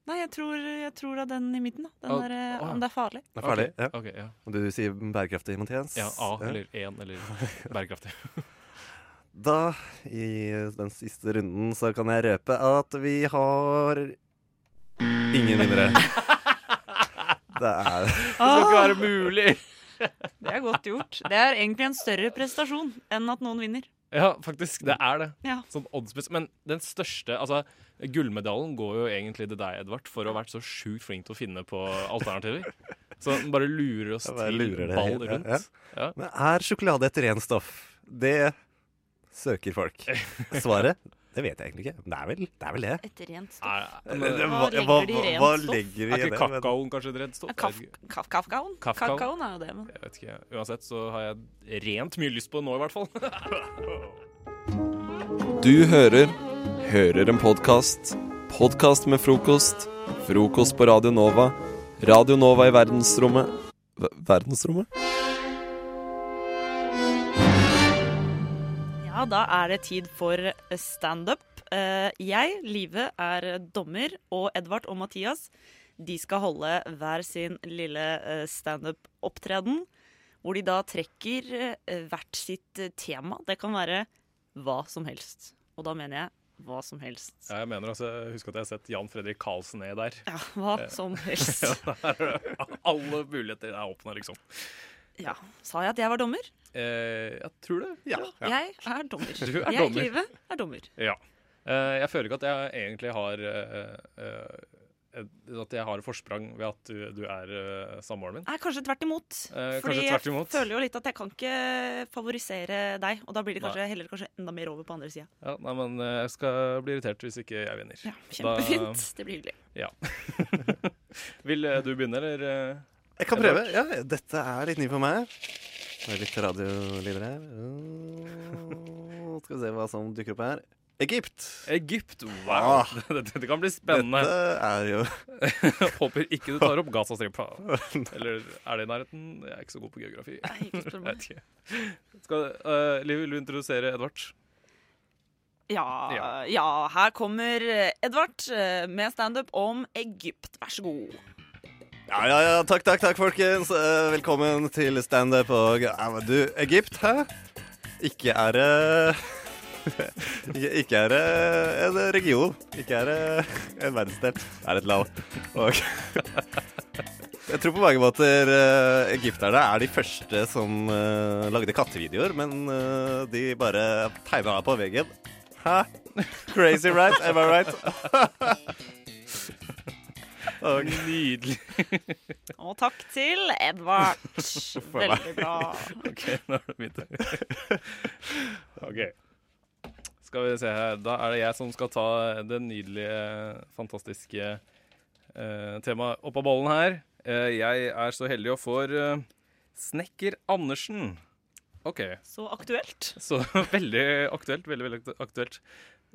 Nei, jeg tror, jeg tror da den i midten, da. Den Ah, der, eh, ah, ja. om det er farlig. Det er farlig. Ok, Ja. ok, ja. Og du sier bærekraftig, Mathias? Ja, A eller 1 eller bærekraftig. Da, i den siste runden, så kan jeg røpe at vi har ingen vinnere. Det er skal ikke være mulig! Det er godt gjort. Det er egentlig en større prestasjon enn at noen vinner. Ja, faktisk. Det er det. Ja. Sånn oddsmessig. Men den største altså, Gullmedaljen går jo egentlig til deg, Edvard, for å ha vært så sjukt flink til å finne på alternativer. Så den bare lurer oss Jeg bare til lurer det ball helt, ja, rundt. ja. Ja. Men er sjokolade et rent stoff? Det søker folk. Svaret? Det vet jeg egentlig ikke. Men det er vel det. Er vel det. Et rent stoff. Eh, det- hva- hva- hva legger vi i Er det? ikke kakaoen kanskje et rent stoff? Kaf kaf kafkaoen? Kafkaoen. Kafkaoen er jo det, men Jeg vet ikke. Uansett så har jeg rent mye lyst på det nå, i hvert fall. Du hører Hører en podkast. Podkast med frokost. Frokost på Radio Nova. Radio Nova i verdensrommet Ver- Verdensrommet? Ja, da er det tid for standup. Eh, Jeg, Live, er dommer, og Edvard og Mathias de skal holde hver sin lille eh, standup-opptreden. Hvor de da trekker eh, hvert sitt eh, tema. Det kan være hva som helst. Og da mener jeg hva som helst. Ja, jeg mener altså, jeg husker at jeg har sett Jan Fredrik Karlsen ned der. Ja, hva Eh, som helst. ja, der er det. alle muligheter er åpne, liksom. Ja, Sa jeg at jeg var dommer? Eh, jeg tror det. Ja. Jeg er dommer. Du er jeg, dommer. Live, er dommer. Ja. Eh, jeg føler ikke at jeg egentlig har eh, eh, et- At jeg har forsprang ved at du, du er eh, samboeren min. Nei, kanskje tvert imot. Eh, kanskje Fordi tvert imot. jeg føler jo litt at jeg kan ikke favorisere deg. Og da blir det kanskje Nei. heller kanskje enda mer over på andre sida. Ja, nei, men eh, jeg skal bli irritert hvis ikke jeg vinner. Ja, Kjempefint. Det blir hyggelig. Ja. Vil eh, du begynne, eller? eh, Jeg kan Edvard? prøve. Ja, dette er litt ny for meg. Det er litt radiolyder her. Åh, Skal vi se hva som dukker opp her. Egypt. Ah. Egypt, wow. Dette, dette kan bli spennende. Dette er jo Håper ikke du tar opp Gazastripa. Eller er det i nærheten? Jeg er ikke så god på geografi. ikke spør meg. Jeg vet ikke. Skal, eh, Liv, vil du introdusere Edvard? Ja, ja. her kommer Edvard eh, med standup om Egypt. Vær så god. Ja, ja, ja. Takk, takk, takk, folkens. Eh, Velkommen til standup og ja, men Du, Egypt, hæ? Ikke er det eh, Ikke ikke er det en region. Ikke er det en verdensdel. Det er et land. Og jeg tror på mange måter eh, egypterne er de første som eh, lagde kattevideoer, men eh, de bare tegna av på veggen. Hæ? Crazy right? Am I right? Nydelig. Og takk til Edvard. Veldig bra. OK, nå er det mitt OK. Skal vi se her. Da er det jeg som skal ta det nydelige, fantastiske eh, temaet opp av bollen her. Eh, jeg er så heldig og får eh, Snekker Andersen. OK. Så aktuelt. Så veldig aktuelt. Veldig, veldig aktu- aktuelt.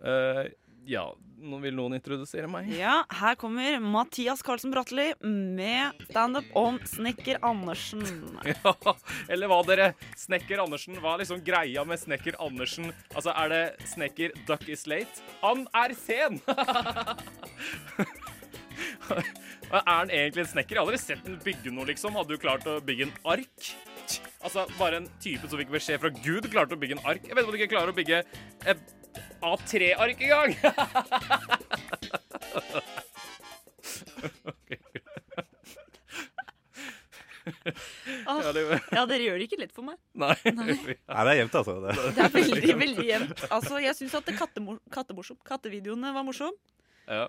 Eh, ja, nå vil noen introdusere meg? Ja, her kommer Mathias Carlsen Bratteli med standup om snekker Andersen. Ja, eller hva dere? Snekker Andersen, hva er liksom greia med Snekker Andersen? Altså, er det snekker Duck is late? Han er sen! er han egentlig en snekker? Jeg har aldri sett den bygge noe, liksom. Hadde du klart å bygge en ark? Altså, bare en type som fikk beskjed fra Gud klarte å bygge en ark. Jeg vet ikke om du ikke klarer å bygge et A3-ark engang! Åh, Ja, det- ja, dere gjør det ikke lett for meg. Nei. Nei, det er jevnt, altså. Det. Det er veldig, veldig jevnt. Altså, jeg syns at det kattemor kattemorsom. kattevideoene var morsom. Ja.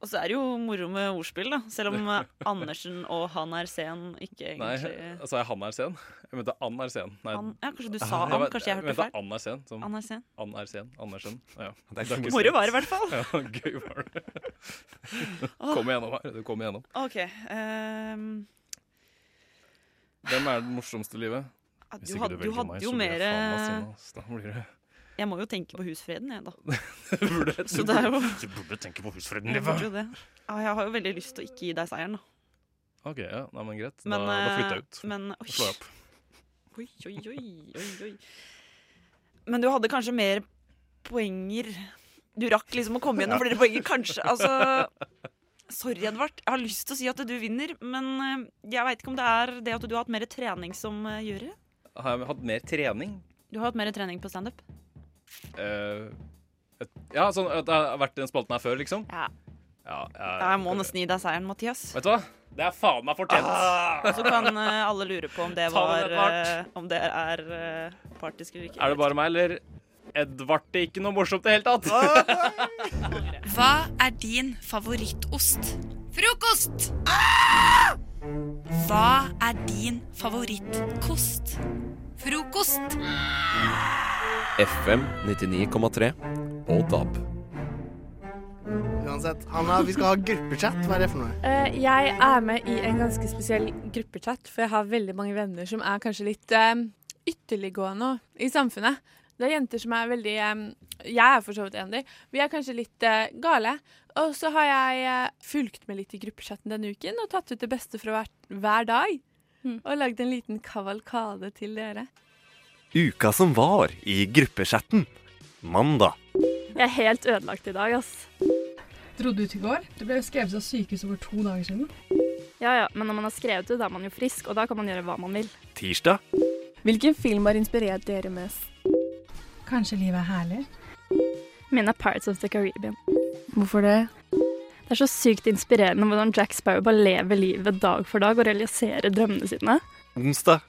Og så er det jo moro med ordspill, da. Selv om eh, Andersen og han er sen ikke Nei, egentlig altså, han er sen. Jeg mente Ann er sen. Nei. Ann- ja, kanskje du sa Ann, var- kanskje jeg hørte feil. mente Ann er sen. Som, Ann er sen. Ann er sen. Andersen. Ja. Det er ikke ikke moro. Moro sen. var det i hvert fall. Ja, gøy var det. Kom igjennom her. Du kom igjennom. OK. ehm, Hvem er det morsomste i livet? Ja, Hvis du ikke hadde- du velger hadde meg, jo så blir mer, jeg faen meg eh, sen, ass. Da blir det jeg må jo tenke på husfreden, jeg, da. Du burde- Så det er jo Du burde tenke på husfreden, Jeg burde jo Liva. det. Ja, jeg har jo veldig lyst til å ikke gi deg seieren, da. OK, ja. Nei, men greit. Men, da, da eh, flytter jeg ut. men- Da slår jeg opp. Oi, oi, oi, oi, oi. Men du hadde kanskje mer poenger. Du rakk liksom å komme gjennom Ja. flere poenger, kanskje. Altså, sorry, Edvard. Jeg har lyst til å si at du vinner, men eh, jeg veit ikke om det er det at du har hatt mer trening som eh, jury. Har jeg hatt mer trening? Du har hatt mer trening på standup. Eh, et, ja, sånn at jeg har vært i den spalten her før, liksom? Ja. ja Ja, Jeg må nesten gi deg seieren, Mathias. Vet du hva? Det er faen meg fortjent. Og så kan eh, alle lure på om det, Ta var, den, Edvard. eh, om det er eh, partisk eller ikke. Er det bare meg, eller Edvard det er ikke noe morsomt i det hele tatt? Hva er din favorittost? Frokost! Ah! Hva er din favorittkost? Frokost! FM 99,3 og DAB. Uansett, Hanna, vi skal ha gruppechat. Hva er det for noe? Eh, jeg er med i en ganske spesiell gruppechat, for jeg har veldig mange venner som er kanskje litt eh, ytterliggående og- i samfunnet. Det er jenter som er veldig eh, Jeg er for så vidt en av de. Vi er kanskje litt eh, gale. Og så har jeg eh, fulgt med litt i gruppechatten denne uken og tatt ut det beste fra hver, hver dag. Hmm. Og lagd en liten kavalkade til dere. Uka som var i gruppechatten. Mandag. Jeg er helt ødelagt i dag, ass. Dro du ut i går? Du ble jo skrevet av sykehuset for to dager siden. Ja, ja, men når man har skrevet det, da er man jo frisk, og da kan man gjøre hva man vil. Tirsdag. Hvilken film har inspirert dere mest? Kanskje livet er herlig? Min er Pirates of the Caribbean. Hvorfor det? Det er så sykt inspirerende hvordan Jack Sparrow bare lever livet dag for dag og realiserer drømmene sine. Onsdag.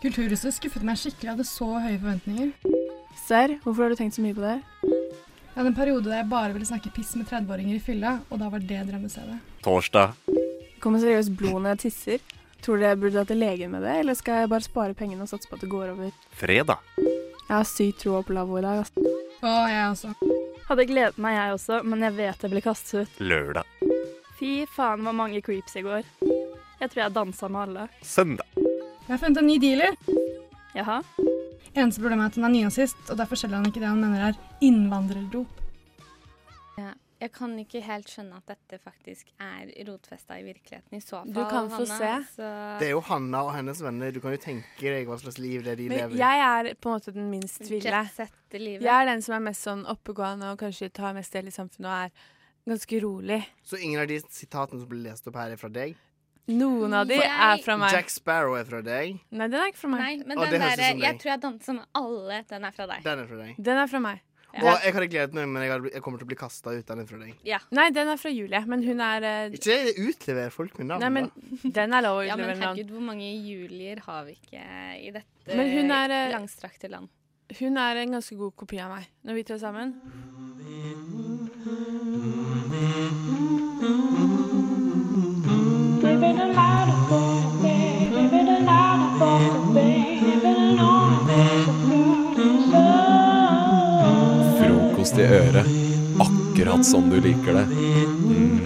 Kulturhuset skuffet meg skikkelig. Jeg hadde så høye forventninger. Serr, hvorfor har du tenkt så mye på det? Jeg hadde en periode der jeg bare ville snakke piss med 30-åringer i fylla, og da var det drømmestedet. Torsdag. Kommer seriøst blod når jeg tisser? Tror dere jeg burde dra til legen med det, eller skal jeg bare spare pengene og satse på at det går over? Fredag. Jeg har sykt troa på lavvo i dag. Og jeg også. Hadde gledet meg, jeg også, men jeg vet jeg ble kastet ut. Lørdag. Fy faen, var mange creeps i går. Jeg tror jeg dansa med alle. Søndag. Jeg har funnet en ny dealer. Jaha? Eneste problemet er at han er nynazist, og derfor selger han ikke det han mener er innvandrerdop. Ja. Jeg kan ikke helt skjønne at dette faktisk er rotfesta i virkeligheten. I så fall, Du kan få Hanna, se. Så... Det er jo Hanna og hennes venner. Du kan jo tenke deg hva slags liv det er de Men lever. jeg er på en måte den minst ville. Jet-set-livet. Jeg er den som er mest sånn oppegående og kanskje tar mest del i samfunnet og er ganske rolig. Så ingen av de sitatene som ble lest opp her, er fra deg? Noen av de Jeg- er fra meg. Jack Sparrow er fra deg. Nei, den er ikke fra meg. Nei, men Å, den det høres ut der, som jeg deg. tror jeg danser med alle. Mm, Den er fra deg. Den er fra deg. Den er fra meg. Og jeg hadde gledet meg, men jeg, hadde, bli- jeg kommer til å bli kasta ut. Den er fra deg. Nei, den er fra Julie, men hun er eh, Ikke utlever folk med navn, Nei, men da. den er lov å Ja, men utlevere navn. herregud, hvor mange Julier har vi ikke eh, i dette Men hun er, eh, langstrakte land? Hun er en ganske god kopi av meg når vi tre er sammen. Frokost i øret, akkurat som du liker det. Mm.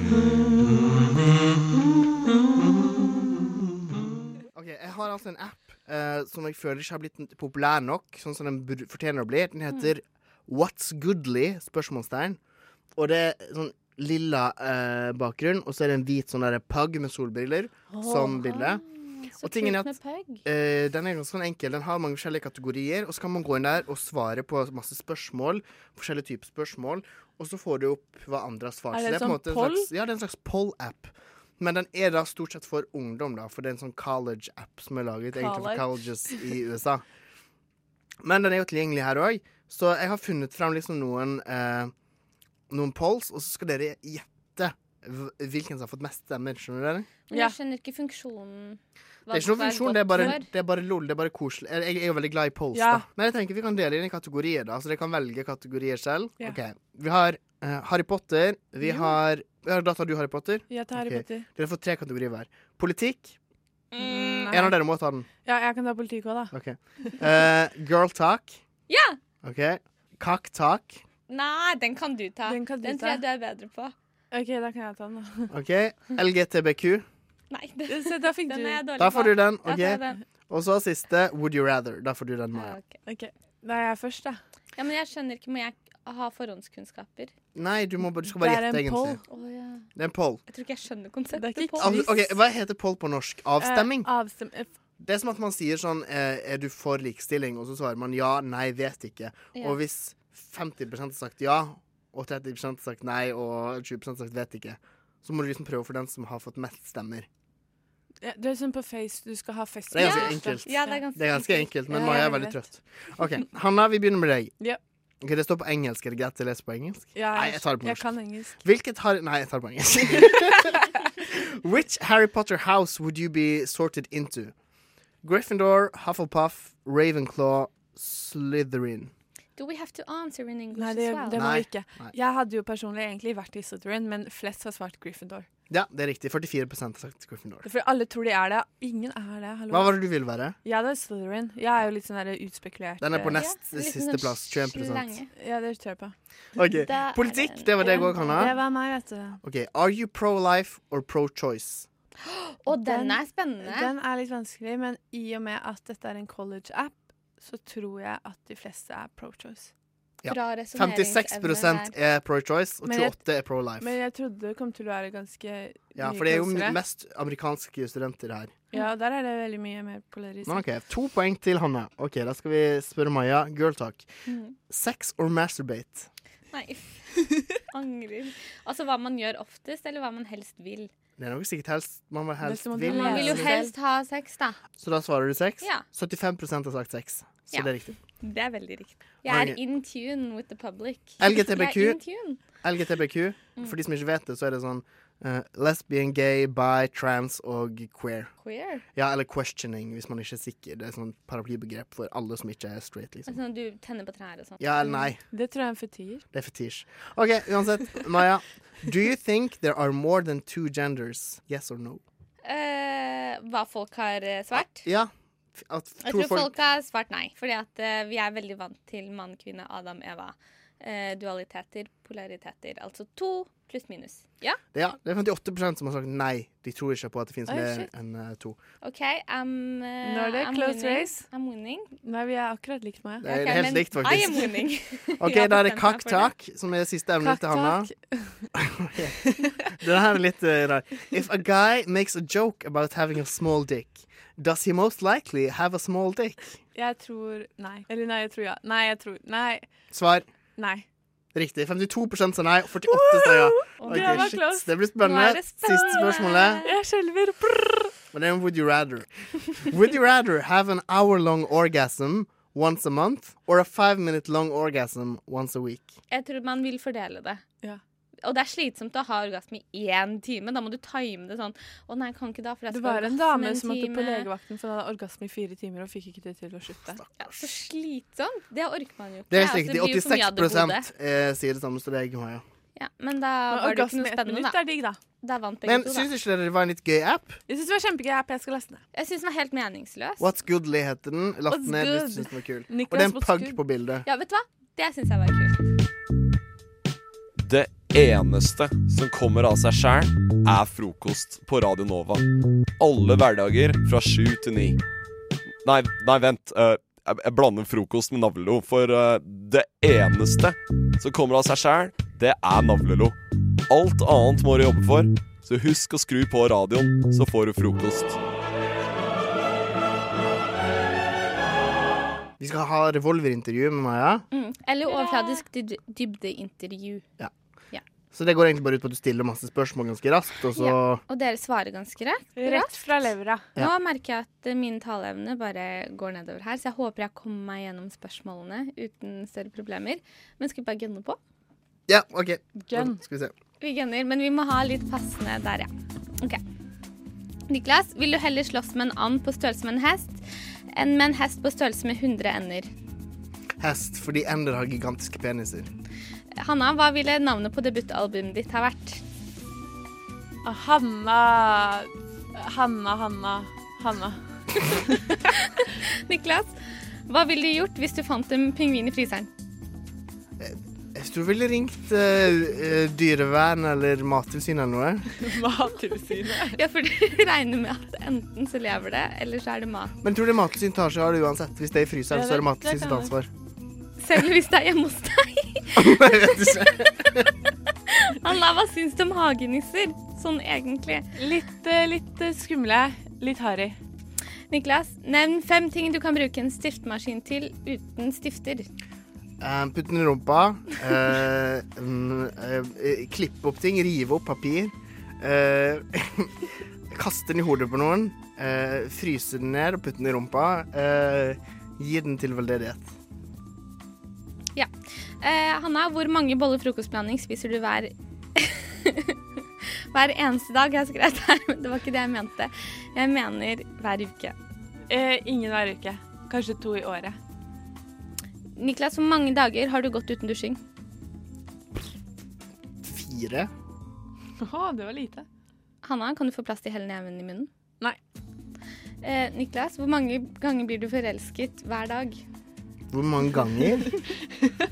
Ok, Jeg har altså en app eh, som jeg føler ikke har blitt populær nok, sånn som den bur- fortjener å bli. Den heter What's Goodly? spørsmålstegn. Og det er sånn lilla eh, bakgrunn, og så er det en hvit sånn der pug med solbriller som Åh. bilde. Så Og tingen er kult at med pug. eh, den er ganske sånn enkel. Den har mange forskjellige kategorier, og så kan man gå inn der og svare på masse spørsmål. Forskjellige typer spørsmål. Og så får du opp hva andre har svart. Er Så det på en sånn måte en poll? slags- Ja, det er en slags poll-app. Men den er da stort sett for ungdom, da, for det er en sånn college-app som er laget egentlig for College. colleges i USA. Men den er jo tilgjengelig her òg, så jeg har funnet fram liksom noen, eh, noen polls, og så skal dere gjette hv- hvilken som har fått mest stemmer. Skjønner dere? Men jeg skjønner ikke funksjonen. Det er ikke noen funksjon, det er bare, det er bare lol. Det er bare koselig. Jeg, jeg er jo veldig glad i polls, Ja. da. Men jeg tenker vi kan dele inn i kategorier, da, så dere kan velge kategorier selv. Ja. Ok, Vi har eh, Harry Potter. Vi Jo. har ja, Da tar du Harry Potter? Jeg tar Harry Ok. Potter. Dere får tre kategorier hver. Politikk. Mm, Nei. Mm, En av dere må ta den. Ja, jeg kan ta politikk òg, da. Ok. Eh, girl talk. Ja! Ok. Cock talk. Nei, den kan du ta. Den, du tror ta. jeg du er bedre på. OK, da kan jeg ta den, da. Ok. LGTBQ. Nei, den, Se, da fikk den du. er jeg dårlig Da får du den. Da tar jeg Ok. den. Og så siste Would you rather. Da får du den, Maja. Ok, Da er jeg først, da. Ja, men jeg skjønner ikke, må jeg ha forhåndskunnskaper? Nei, du, må, bare- du skal bare gjette, egentlig. Å, ja. Det er en poll. Jeg tror ikke jeg skjønner konseptet Av- Ok, Hva heter poll på norsk? Avstemming? Eh, avstem eh, Det er som at man sier sånn eh, Er du for likestilling? Og så svarer man ja, nei, vet ikke. Ja. Og hvis 50 har sagt ja, og 30 har sagt nei, og 20 har sagt vet ikke, så må du liksom prøve for den som har fått mest stemmer. ja, det er sånn på Face du skal ha fest. Det er ganske enkelt. det er ganske enkelt, men Ja, Maja jeg er veldig vet. trøtt. OK, Hanna, vi begynner med deg. Ja. Ok, Det står på engelsk. Er det greit å lese på engelsk? Ja, nei, jeg tar det på jeg norsk. kan engelsk. Hvilket har... Nei, jeg tar det på engelsk. Which Harry Potter house would you be sorted into? Gryffindor, Hufflepuff, Ravenclaw, Slytherin. Do we have to answer in English Nei, det, as well? det må Nei. vi ikke. Jeg hadde jo personlig egentlig vært i Sutherland, men flest har svart Gryffindor. Ja, det er riktig. 44 har sagt Gryffindor. For alle tror de er det. Ingen er det. Hallo. Hva var det du ville være? Ja, det er Slytherin. Jeg er jo litt sånn der utspekulert. Den er på eh, nest Ja, litt siste sånn plass, 21%. slange. Ja, det tror jeg på. Ok, Politikk, det var det jeg òg kan Det ha. var meg, vet du. Ok, Are you pro-life or pro-choice? Og den er spennende. Den er litt vanskelig, men i og med at dette er en college-app, så tror jeg at de fleste er pro-choice. Ja. 56 er pro-choice, og Men jeg- 28 er pro-life. Men jeg trodde det kom til å være ganske Ja, mye for det er jo closere. mest amerikanske studenter her. Ja, og der er det veldig mye mer polarisert. Men ok, To poeng til Hanne. Ok, Da skal vi spørre Maja. Girl talk. Mhm. Sex or masturbate? Nei, angrer. Altså hva man gjør oftest, eller hva man helst vil. Det er nok sikkert helst man vil helst man, vil. vil jo helst ha sex, da. Altså, Så da svarer du sex? Ja. 75 har sagt sex. Så Ja. det er riktig. Det er veldig riktig. Jeg er Ok. in tune with the public. LGTBQ. Jeg er in tune. LGTBQ. Mm. For de som ikke vet det, så er det sånn eh, lesbian, gay, bi, trans og queer. Queer? Ja, eller questioning, hvis man ikke er sikker. Det er sånn paraplybegrep for alle som ikke er straight, liksom. Altså, du tenner på trær og sånn. Ja eller nei. Det tror jeg er en fetir. Det er fetisj. OK, uansett. Maja. Do you think there are more than two genders? Yes or no? Eh, hva folk har eh, svart? Ja. f- At Jeg to tror folk har svart nei, fordi at eh, vi er veldig vant til mann, kvinne, Adam, Eva. Eh, dualiteter, polariteter. Altså to pluss minus. Ja? Ja, det er 58 som har sagt nei. De tror ikke på at det finnes Oi, mer shit. enn eh, to. OK, I'm, eh, Nå er det I'm close winning. race. I'm winning. Nei, vi er akkurat likt, Maja. Det er helt men likt, faktisk. I am winning. OK, Jeg da er det bestemte meg for kakk-tak, som er siste emne til Hanna. Den her er litt eh, rar. If a guy makes a joke about having a small dick, does he most likely have a small dick? Jeg tror nei. Eller nei, jeg tror ja. Nei, jeg tror Nei. Svar Nei. riktig. 52 sa nei, og 48 sa ja. Det var Ok, shit, close. det blir Nå er spennende. det Siste spørsmålet. Jeg skjelver. Brrr. But then would you rather? would you rather have an hour long orgasm once a month or a five minute long orgasm once a week? Jeg tror man vil fordele det. Og det er slitsomt å ha orgasme i én time. Da må du time det sånn. Å nei, jeg kan ikke da, for jeg Det skal ha var en orgasme dame en som måtte på time.» legevakten for hun hadde orgasme i fire timer og fikk ikke det til å slutte. Ja, så slitsomt. Det orker man jo ikke. Det er helt Altså, riktig. blir jo for mye av det 86 gode. eh, sier det samme som deg. Maja. Ja, men Men da var det jo ikke orgasme i noe ett spennende, minutt da. er digg, da. Da vant begge Men to, syns da. ikke dere det var en litt gøy app? Jeg syns det var kjempegøy. app, Jeg skal laste ned. Jeg syns den var helt meningsløs. What's Goodly heter den. Last What's ned good? hvis du syns den var kul. Niklas, Og det er en what's pug good? på bildet. Ja, vet du hva? Det syns jeg var kult. Det eneste som kommer av seg sjæl, er frokost på Radio Nova. Alle hverdager fra sju til ni. Nei, nei, vent. eh, jeg jeg blander frokost med navlelo, for eh, det eneste som kommer av seg sjæl, det er navlelo. Alt annet må du jobbe for, så husk å skru på radioen, så får du frokost. Vi skal ha revolverintervju med Maja. Mm. Eller overfladisk dyb dybdeintervju. Ja. Ja. Så det går egentlig bare ut på at du stiller masse spørsmål ganske raskt, og så Ja, Og dere svarer ganske rett. Rett fra levra. Nå Ja. merker jeg at eh, min taleevne bare går nedover her, så jeg håper jeg kommer meg gjennom spørsmålene uten større problemer. Men skal vi bare gunne på? Ja, OK. Gun. Skal vi se. Vi gunner, men vi må ha litt passende der, ja. OK. Niklas, vil du heller slåss med en and på størrelse med en hest enn med en hest på størrelse med 100 ender? Hest, fordi ender har gigantiske peniser. Hanna, hva ville navnet på debutalbumet ditt ha vært? Hanna Hanna, Hanna, Hanna. Niklas, hva ville du gjort hvis du fant en pingvin i fryseren? Jeg tror du ville ringt eh, eh, dyrevern eller Mattilsynet eller noe. Mattilsynet. ja, for du regner med at enten så lever det, eller så er det mat. Men jeg tror det Mattilsynet tar seg av det uansett. Hvis det er i fryseren, Ja, så det- er det det Mattilsynet sitt kan ansvar. Selv hvis det er hjemme hos deg. Jeg vet ikke. Anna, hva syns du om hagenisser? Sånn egentlig. Litt, eh, litt eh, skumle. Litt harry. Niklas, nevn fem ting du kan bruke en stiftemaskin til uten stifter. Eh, Putt den i rumpa. eh, mm, eh, eh, klippe opp ting. Rive opp papir. eh, kaste den i hodet på noen. eh, fryse den ned og putte den i rumpa. eh, gi den til veldedighet. Ja. Eh, Hanna, hvor mange boller frokostblanding spiser du hver Hver eneste dag, jeg har skrevet her, men det var ikke det jeg mente. Jeg mener hver uke. Eh, ingen hver uke. Kanskje to i året. Niklas, hvor mange dager har du gått uten dusjing? Fire. Å, det var lite. Hanna, kan du få plass til hele neven i munnen? Nei. Eh, Niklas, hvor mange ganger blir du forelsket hver dag? Hvor mange ganger?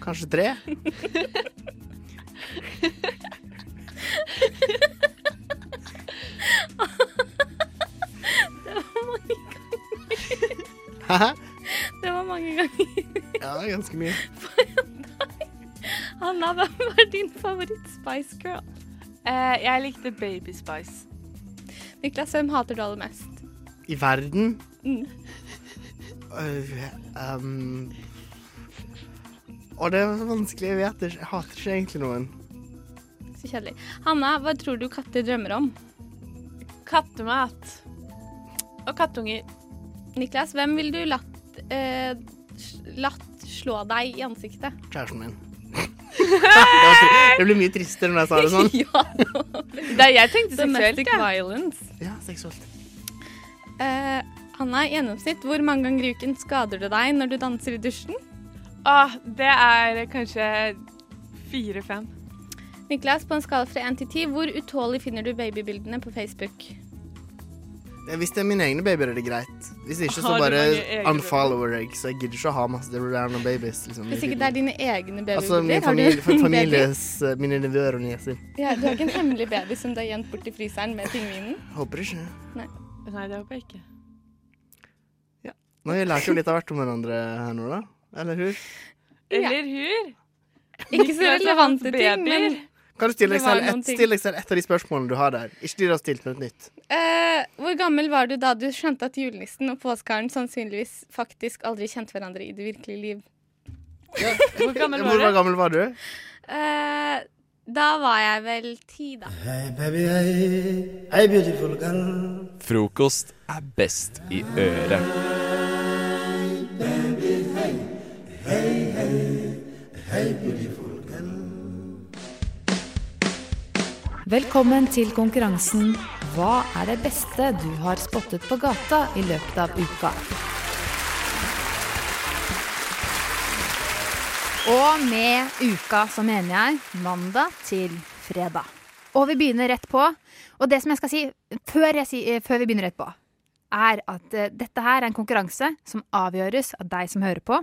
Kanskje tre? Det var mange ganger. Hæ? Det var mange ganger. Ja, det er ganske mye. Hanna, hva var din favoritt Spice Girl? Eh, jeg likte Baby Spice. Niklas, hvem hater du aller mest? I verden Mm. Øh, ehm. Og det er så vanskelig. Jeg vet det. Jeg hater ikke egentlig noen. Så kjedelig. Hanna, hva tror du katter drømmer om? Kattemat. Og kattunger. Niklas, hvem ville du latt, eh, sl- latt slå deg i ansiktet? Kjæresten min. det blir mye tristere når jeg sa det sånn. ja, Da, jeg tenkte seksuelt, Domestic jeg. violence. Ja, seksuelt. Eh, Hanna, i gjennomsnitt, hvor mange ganger i uken skader du deg når du danser i dusjen? Åh, Ah, det er kanskje fire-fem. Niklas, på en skala fra 1 til 10, hvor utålig finner du babybildene på Facebook? Ja, Hvis det er mine egne babyer, er det greit. Hvis ikke, så Har du bare mange egne babyer? unfollower jeg. Så jeg gidder ikke å ha masse random babies. Liksom, Hvis ikke det er dine egne babybilder, Altså min har du familie, en families, eh, mine nevøer og nieser. baby? Ja, du har ikke en hemmelig baby som du har gjemt bort i fryseren med pingvinen? Håper ikke. Nei. Nei, det håper jeg ikke. Nå har vi lært jo litt av hvert om hverandre her nå, da. Eller hur? Eller hur? Ikke så Niklas og hans relevante ting, babyer. men Kan du stille deg Det var selv noen et, ting. stille deg selv et av de spørsmålene du har der? Ikke de du har stilt, men et nytt. eh, Hvor gammel var du da du skjønte at julenissen og påskeharen sannsynligvis faktisk aldri kjente hverandre i det virkelige liv? Hvor gammel Hvor var du? gammel var du? Eh, Da var jeg vel ti, da. Baby, hey, hey, beautiful girl. Frokost er best i øret. Velkommen til konkurransen Hva er det beste du har spottet på gata i løpet av uka? Og med uka så mener jeg mandag til fredag. Og vi begynner rett på. Og det som jeg skal si før, jeg si, eh, før vi begynner rett på, er at eh, dette her er en konkurranse som avgjøres av deg som hører på.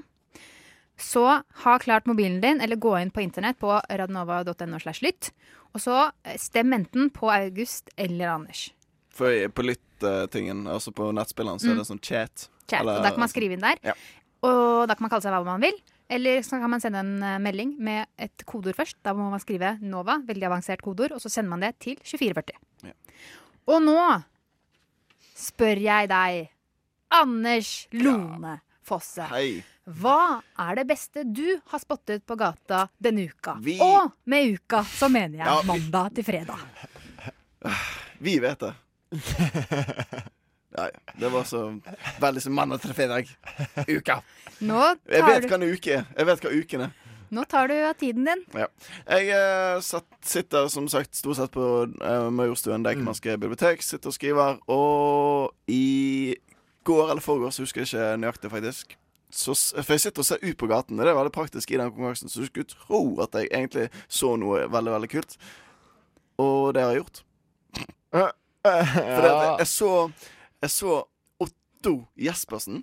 Så ha klart mobilen din, eller gå inn på internett på radnova.no slash lytt. Og så eh, stem enten på August eller Anders. For i- på lyttetingen, altså på nettspilleren, så Mm. er det sånn chat. Chat, og da kan man skrive inn der. Ja. Og da kan man kalle seg hva man vil. Eller så kan man sende en eh, melding med et kodeord først. Da må man skrive NOVA, veldig avansert kodeord, og så sender man det til 2440. Ja. Og nå spør jeg deg, Anders Lone Fosse. Hei. Hva er det beste du har spottet på gata denne uka? Og med uka så mener jeg Ja, vi- mandag til fredag. Vi vet det. Nei, det var så veldig som mandag til fredag. Uka. Nå Jeg tar, vet du, hva en uke er. Jeg vet hva uken er. nå tar du av tiden din. Ja. Jeg eh, satt, sitter som sagt stort sett på eh, Majorstuen Deichmanske bibliotek. Sitter og skriver. Og i går eller forgårs, husker jeg ikke nøyaktig, faktisk. Så, s- for jeg sitter og ser ut på gaten. og Det er veldig praktisk i den konkurransen, så du skulle tro at jeg egentlig så noe veldig, veldig kult. Og det har jeg gjort. For det, at jeg så Jeg så Otto Jespersen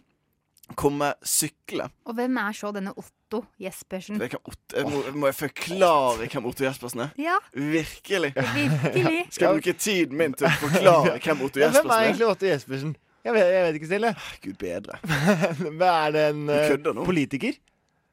komme sykle. Og hvem er så denne Otto Jespersen? Jeg kan, Otto- jeg må, må jeg forklare hvem Otto Jespersen er? Ja, Virkelig. Virkelig. Skal jeg bruke tiden min til å forklare hvem Otto Ja, Jespersen Hvem er er? egentlig Otto Jespersen? Jeg vet, jeg vet ikke selv, jeg. Gud bedre. Men er det en Du eh, kødder nå. politiker?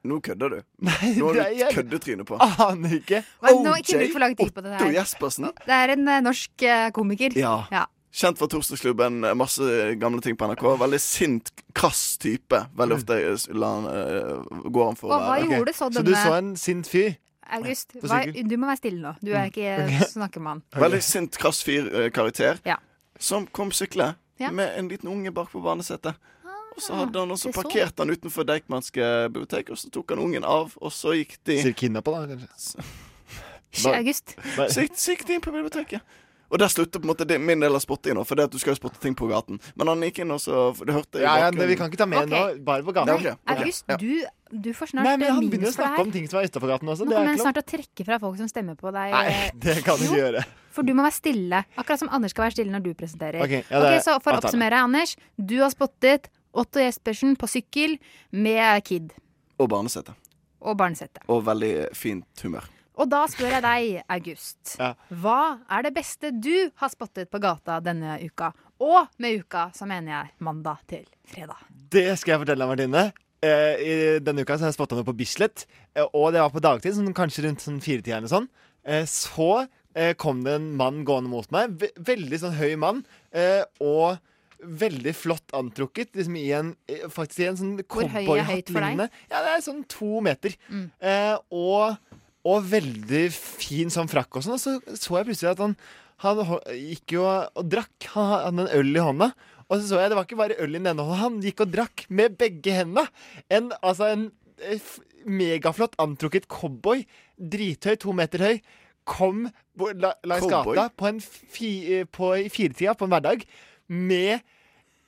Nå kødder du. Nå har du det er- et køddetryne på. Aner ikke. Men nå, ikke bruk for lang tid på det Otto her. Jespersen. Det er en eh, norsk eh, komiker. Ja. ja. Kjent fra Torsdagsklubben, eh, masse gamle ting på NRK. Veldig sint, krass type. Veldig ofte eh, la han, eh, går han for Og hva gjorde så Så du denne- så en sint fyr? August, På hva, sykkel. du må være stille nå. Du Mm. er ikke eh, snakkemann. Veldig sint, krass fyr-karakter. Ja. Som kom syklende Ja. med en liten unge bak på barnesetet. Og så hadde han Ah, det er også sånn. så. parkert han utenfor Deichmanske bibliotek, og så tok han ungen av, og så gikk de Sier kidnappa, da, kanskje. Hysj, August. Nei. Så gikk- så gikk de inn på biblioteket. Og der slutter på en måte det- min del av spottinga, for det at du skal jo spotte ting på gaten. Men han gikk inn, og så for Det hørte jeg i Ja, ja, bakgrunnen. men vi kan ikke ta med Ok. nå, bare på gaten. Nei, ok. August, du, du får snart Nei, men eh, Han minus begynner for å det snakke her. om ting som er utafor gaten også. Nå Det er kommer ikke jeg lov. snart til å trekke fra folk som stemmer på deg. Nei, eh, det kan du ikke Jo. gjøre. For du må være stille. Akkurat som Anders skal være stille når du presenterer. Ok, ja, det Ok, så for å avtale. oppsummere, Anders. Du har spottet Otto Jespersen på sykkel med kid Og barnesete. og barnesette. Og veldig fint humør. Og da spør jeg deg, August. Ja. Hva er det beste du har spottet på gata denne uka? Og med uka så mener jeg mandag til fredag. Det skal jeg fortelle deg, Martine. Eh, i denne uka så har jeg spotta noe på Bislett, eh, og det var på dagtid, sånn, kanskje rundt sånn firetida eller sånn. Eh, så eh, kom det en mann gående mot meg. Ve veldig sånn høy mann. Eh, og veldig flott antrukket, liksom i en, eh, faktisk i en sånn Hvor høy er høyt for deg? cowboyhattlignende Ja, det er sånn to meter. Eh, og, og veldig fin sånn frakk og sånn. Og så så jeg plutselig at han, han ho- gikk jo og drakk. Han hadde en øl i hånda. Og så så jeg, det var ikke bare øl i den ene hånda, han gikk og drakk med begge hendene. En, altså en eh, f- megaflott antrukket cowboy, drithøy, to meter høy, kom bo- la, langs Cowboy? gata på en fi, eh, på, i firetida på en hverdag med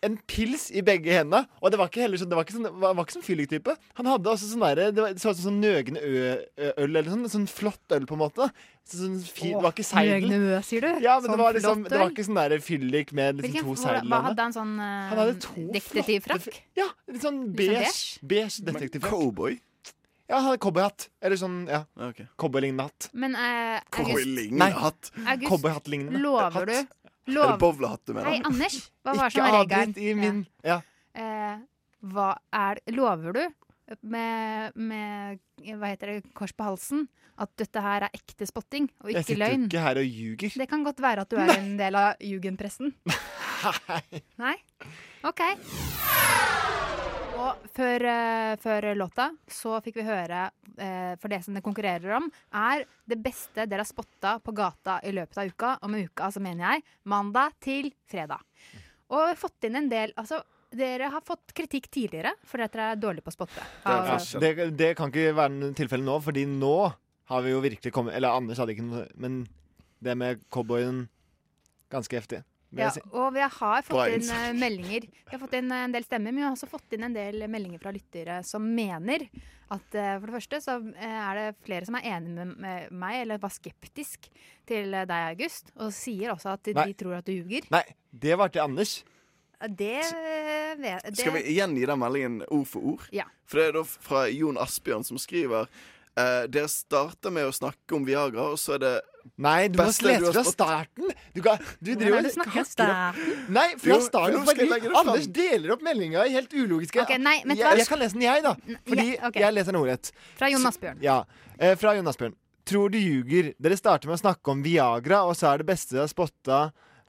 en pils i begge hendene. Og det var ikke heller sånn, det var ikke sånn, det var ikke sånn fylliktype. Han hadde også sånn derre Det var- det så ut som sånn nøgne ø- ø- øl, eller sånn, sånn flott øl, på en måte. da. Så Sånn, fi, det var ikke seidel. Nøgne ø, sier du? Ja, Sånn men det var, liksom, flott det var øl? ikke sånn derre fyllik med liksom, Hvilken, to hvor, seidel. hva i hadde han sånn eh, Han hadde to detektivfrakk? Ja, litt Litt sånn sånn beige, beige detektivfrakk. Cowboy? Ja, han hadde cowboyhatt. Eller sånn, ja. Cowboylignende hatt. Men eh, August, Nei, hatt. August, Cowboyhattlignende. lover du? Er det bowlehatt du mener? Hei, Anders. Hva var Ikke som var avbryt i regelen? min Ja. Ja. Eh, hva er Lover du med, med Hva heter det? Kors på halsen? At dette her er ekte spotting og Jeg ikke sitter jo løgn? ikke her og ljuger. Det kan godt være at du er en del av jugendpressen. Nei. OK. Og før, eh, før låta så fikk vi høre, eh, for det som det konkurrerer om, er det beste dere har spotta på gata i løpet av uka. Og med uka så mener jeg mandag til fredag. Og vi har fått inn en del Altså, dere har fått kritikk tidligere fordi at dere er dårlige på å spotte. Ja, det, det kan ikke være noe tilfelle nå, fordi nå har vi jo virkelig kommet Eller Anders hadde ikke noe Men det med cowboyen Ganske heftig. vil Ja, jeg si. og vi har Bra fått inn innsatt. eh, meldinger. Vi har fått inn eh, en del stemmer, men vi har også fått inn en del meldinger fra lyttere som mener at eh, for det første så eh, er det flere som er enig med, med meg, eller var skeptisk til eh, deg, August, og sier også at de Nei. tror at du ljuger. Nei, det var til Anders. Det, eh, vet- det Skal vi gjengi den meldingen ord for ord? Ja. For det er da fra Jon Asbjørn som skriver eh, Dere starter med å snakke om Viagra, og så er det Nei, du må lese fra starten! Du, kan, du Hvordan driver er det du og snakker? hakker opp. Nei, fra Jo, starten. jo, skal jeg Fordi legge det fram? Anders deler opp meldinga i helt ulogiske Ok, nei, vet du hva? jeg, jeg kan lese den, jeg, da. Fordi ja, ok. jeg leser den ordrett. Fra Jon Så- Asbjørn. Ja. Eh, fra Jon Asbjørn. Tror du ljuger. Dere starter med å snakke om Viagra, og så er det beste dere har spotta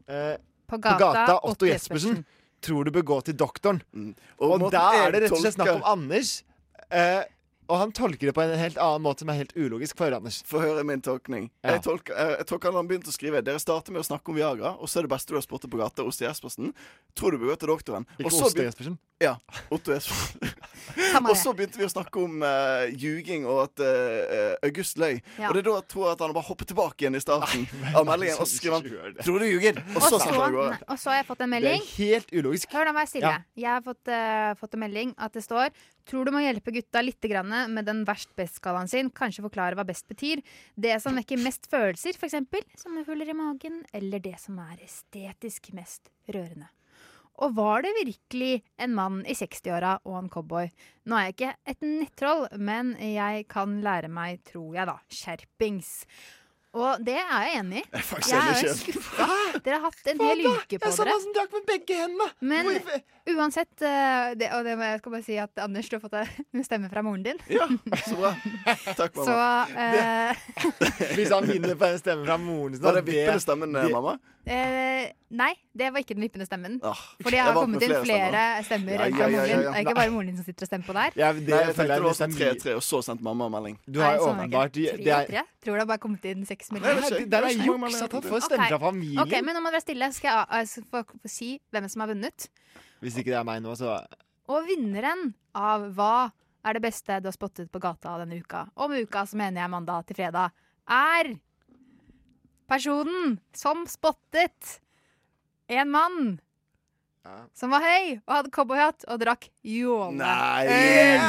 eh, På på gata, gata Otto Otto Jespersen. Jespersen. Tror du bør gå til doktoren. Mm. Og, Og måten da jeg er det rett og slett snakk tolker- om Anders. Eh, og han tolker det på en helt annen måte som er helt ulogisk. Få høre, Anders. Få høre min tolkning. Jeg tolker, eh, jeg, jeg tolker at han begynte å skrive Dere starter med å snakke om Viagra, og så er det beste du har spottet på gata, Oste Jespersen. Tror du bør gå til doktoren. Ikke Og så Oste begyn- Jespersen. Ja. Otto Jespersen. og så begynte vi å snakke om eh, ljuging og at eh, August løy. Ja. Og det er da jeg tror jeg at han bare hoppet tilbake igjen i starten av meldingen, og så skriver han 'Tror du ljuger?' Og så snakker han nei, går. og så har jeg fått en melding. helt ulogisk. Hør, da må jeg stille. Ja. Jeg har fått, eh, fått en melding at det står Tror du må hjelpe gutta litt grann med den verst best-skalaen sin. Kanskje forklare hva best betyr. Det som vekker mest følelser, f.eks. Som huller i magen. Eller det som er estetisk mest rørende. Og var det virkelig en mann i 60-åra og en cowboy? Nå er jeg ikke et nettroll, men jeg kan lære meg, tror jeg da, skjerpings. Og det er jeg enig i. Jeg er faktisk Jeg enig er selv. skuffa. Dere har hatt en hel uke på Jeg sa dere. hva som drakk med begge hendene! Men uansett, eh, det, og det må jeg skal bare si at Anders, du har fått en stemme fra moren din. Ja, så bra. Takk, Så mamma. eh, Hvis han vinner på en stemme fra moren sin Var det vippende stemmen, eh, mamma? eh, Nei, det var ikke den vippende stemmen. Ah, Fordi jeg jeg har vant kommet med inn flere flere stemmer stemmer. Ja, enn ja, fra ja, moren din. ja, ja. Det er ikke bare moren din som sitter og stemmer på der. Nei, jeg tenkte det var er sånn mye- 3-3, og så sendte mamma melding. Du har jo sånn er det ikke. åpenbart det Tre, er- tre? Tror det har bare kommet inn seks Nei, det millioner. er ikke- det er jo juks at han får stemme fra Ok. familien. Ok, men nå må dere være stille. Skal jeg eh, få, få si hvem som har vunnet? Hvis ikke det er meg nå, så Og vinneren av hva er det beste du har spottet på gata denne uka? Og med uka så mener jeg mandag til fredag. Er personen som spottet en mann som var høy og hadde cowboyhatt og drakk jåle. Nei! Øl.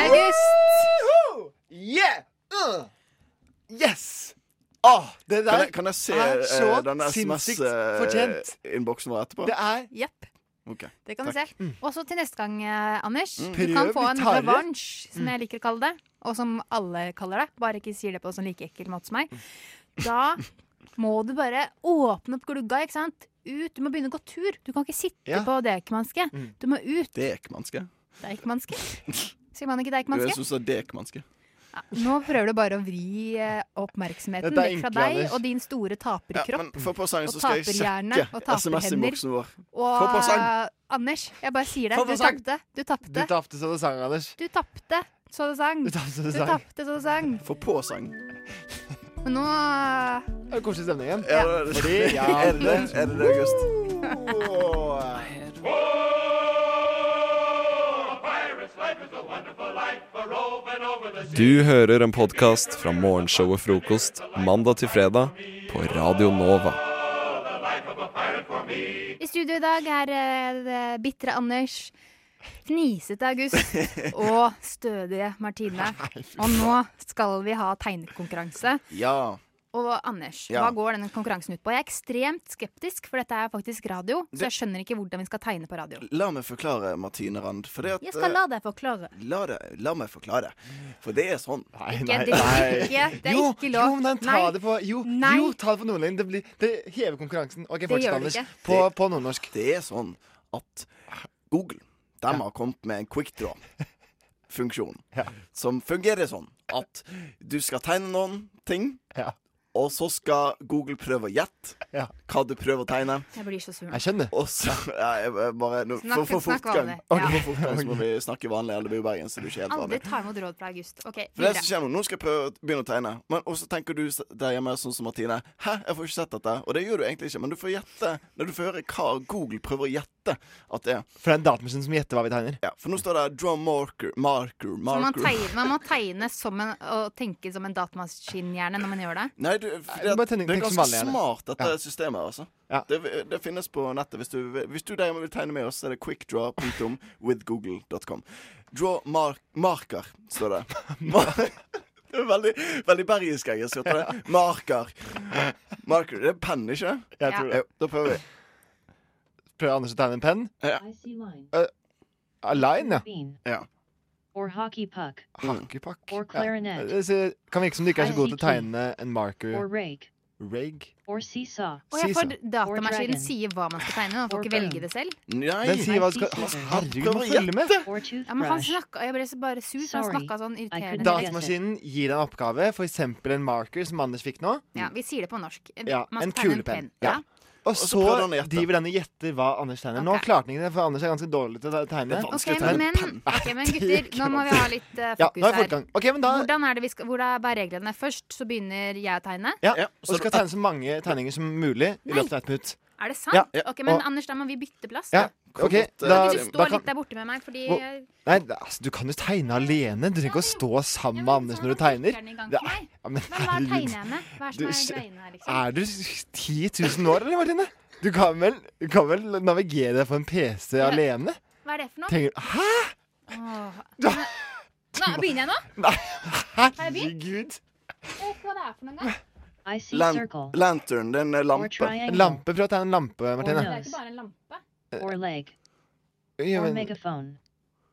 August! Yeah! Yes! Uh. Ah, det der kan, jeg, kan jeg se er så eh, den sinnssykt fortjent. SMS-innboksen vår etterpå? Det er Jepp. Ok, Det kan takk. du se. Og så til neste gang, eh, Anders. Mm. Du kan Prøv få en litt hardere. revansj, som Mm. jeg liker å kalle det. Og som alle kaller det. Bare ikke sier det på en sånn like ekkel måte som meg. Mm. Da må du bare åpne opp glugga, ikke sant. Ut. Du må begynne å gå tur. Du kan ikke sitte Ja. på dekmanske. Mm. Du må ut. Dekmanske? Dekmanske? Sier man ikke Jo, jeg dekmanske? syns det er dekmanske. Nå prøver du bare å vri eh, oppmerksomheten Dette er vekk fra enkelt, deg Anders. og din store taperkropp. For på sangen Og så skal jeg taperhjerne og sjekke SMS-innboksen vår. Og Få på sang! eh, Anders, jeg bare sier det. Få på Du sang! tapte. Du Du tapte. tapte så det sang, Anders. Du tapte, så det sang. Du tapte, så det Du sang. tapte, så det sang. Få på sang. Men nå eh, Det er koselig stemning igjen. Ja. Er det Fordi, det, ja. er det, det? Er det det, August? Du hører en podkast fra morgenshowet Frokost mandag til fredag på Radio Nova. I studio i dag er eh, det bitre Anders, fnisete August og stødige Martine. Og nå skal vi ha tegnekonkurranse. Ja. Og Anders, Ja. hva går denne konkurransen ut på? Jeg er ekstremt skeptisk, for dette er faktisk radio. Så jeg skjønner ikke hvordan vi skal tegne på radio. La meg forklare, Martine Rand. For det at, Jeg skal la deg forklare. eh, la, det, la meg forklare. For det er sånn. Ikke, det er ikke, det er Jo, ikke lov. Jo, men ta Nei. det på Jo, Nei. jo ta det på nordlending. Det, blir- det hever konkurransen. OK, Det gjør fortsett, det Anders. ikke. På, på nordnorsk. Det er sånn at Google de har kommet med en quickdraw-funksjon som fungerer sånn at du skal tegne noen ting, Og så skal Google prøve å gjette hva du prøver å tegne. Jeg blir så sur. nå. Og så, ja, jeg, jeg bare, nå, Snakk- for, for snakk fortgang. vanlig. Ja. For fortgang så må vi snakke vanlig, eller det blir jo Bergen, så det blir ikke helt vanlig. Aldri ta imot råd fra August. OK, For det videre. som kommer Nå nå skal jeg prøve å begynne å tegne. Men også tenker du s- der hjemme sånn som Martine. Hæ, jeg får ikke sett dette. Og det gjør du egentlig ikke, men du får gjette når du får høre hva Google prøver å gjette at det er. For det er en datamaskin som gjetter hva vi tegner. Ja, for nå står det 'draw marker', marker, Så man, marker. tegne, man må tegne som en, og tenke som en datamaskinhjerne når man gjør det. Nei, du, det, du bare tenk- det er tenk som ganske vanlig, gjerne. smart, dette Ja. systemet. her, altså det, det finnes på nettet. Hvis du, hvis du der hjemme vil tegne med oss, så er det quickdraw.withgoogle.com. Draw mar marker, står det. Mar det er veldig, veldig bergensk, jeg. jeg skjønner det. Marker. Marker. Det er penn, ikke det? Jeg tror det. Jo, da prøver vi. Prøver Anders å tegne en penn? Ja. Eh, a line, ja. ja. Or hockey puck. Hakkepakk. Or Mm. Ja. clarinet. Det ser- kan virke som du ikke er så god til å tegne en Or marker. rake. Rake? Or seesaw. Og jeg får sånn. datamaskinen dragon. sier hva man skal tegne. Man får ikke velge det selv. Nei. Den sier hva du skal Herregud, du må følge med! Ja, men han snakka, Jeg ble så bare sur, for han snakka sånn irriterende. Datamaskinen gir deg en oppgave, f.eks. en marker, som Anders fikk nå. Ja, Vi sier det på norsk. Ja, Man en skal tegne kulepenn. penn. Ja. Og så så prøvde han å gjette. driver denne gjetter hva Anders tegner. Nå klarte han ikke det, for Anders er ganske dårlig til å tegne. Det er Ok, men, ok, men gutter, nå må vi ha litt eh, Ja, fokus nå er her. fortgang. Ok, men da Hvordan er det vi skal, hvor er bare reglene? Først så begynner jeg å tegne. ja, Og så skal jeg tegne så mange tegninger som mulig i løpet av et minutt. Er det sant? Ja, ja. Ok, Men Og- Anders, da må vi bytte plass. Ja, Da. Kan ok, da- ikke du da stå kan- litt der borte med meg? Fordi eh, Hvor- jeg- Nei, altså, du kan jo tegne alene. Du trenger ikke å stå sammen med Anders når du tegner. den i gang Det for meg. ja, men Men hva herregud. tegner jeg med? Hva er Du, som er skj- greiene her, liksom? Er du 10 000 år, eller, Martine? Du kan vel, du kan vel navigere deg på en PC alene? Hva er det for noe? Tenker, du, Hæ? Åh, men- Nå, begynner jeg nå? Nei, jeg begynt? Jeg herregud. vet ikke hva det er for noe engang. Lan lantern. Det er en eh, lampe. En lampe. Prøv å tegne en lampe, Det Martine. er ikke bare en lampe. Or leg. Eh. Ja, Or men- megaphone.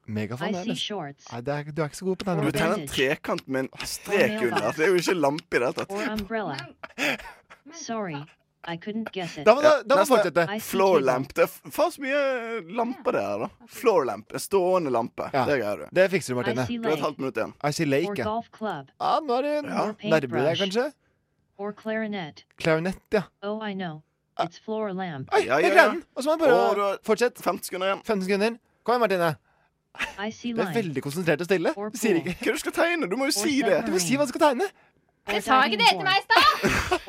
Megafon, I det er see nesten- shorts. Nei, det er, du er ikke så god på den. Du tegner en trekant med en strek Or under. altså, Det er jo ikke lampe i det hele Or tatt. umbrella. Sorry, I couldn't guess it. Da må du- da må du fortsette. I see Floor table. lamp. Det er f- faen så mye eh, lamper det er, da. Floor lamp. En stående lampe. Det greier du. Det fikser du, Martine. I see Du har et lake. halvt minutt igjen. I see Or lake, ja. golf club. Ja, nå er du Ja. nærmere deg, kanskje. Or clarinet. Klarinett, ja. Oh, I know. Uh, It's floor lamp. Oi, ja, det ja, greide ja. den! Og så må jeg bare Og du fortsette. 15 sekunder igjen. Kom igjen, Martine. I see Du er line. veldig konsentrert og stille. Du sier ikke Hva du skal tegne? Du må jo si det. Du må si hva du skal tegne. Or Jeg sa ikke det til meg i stad!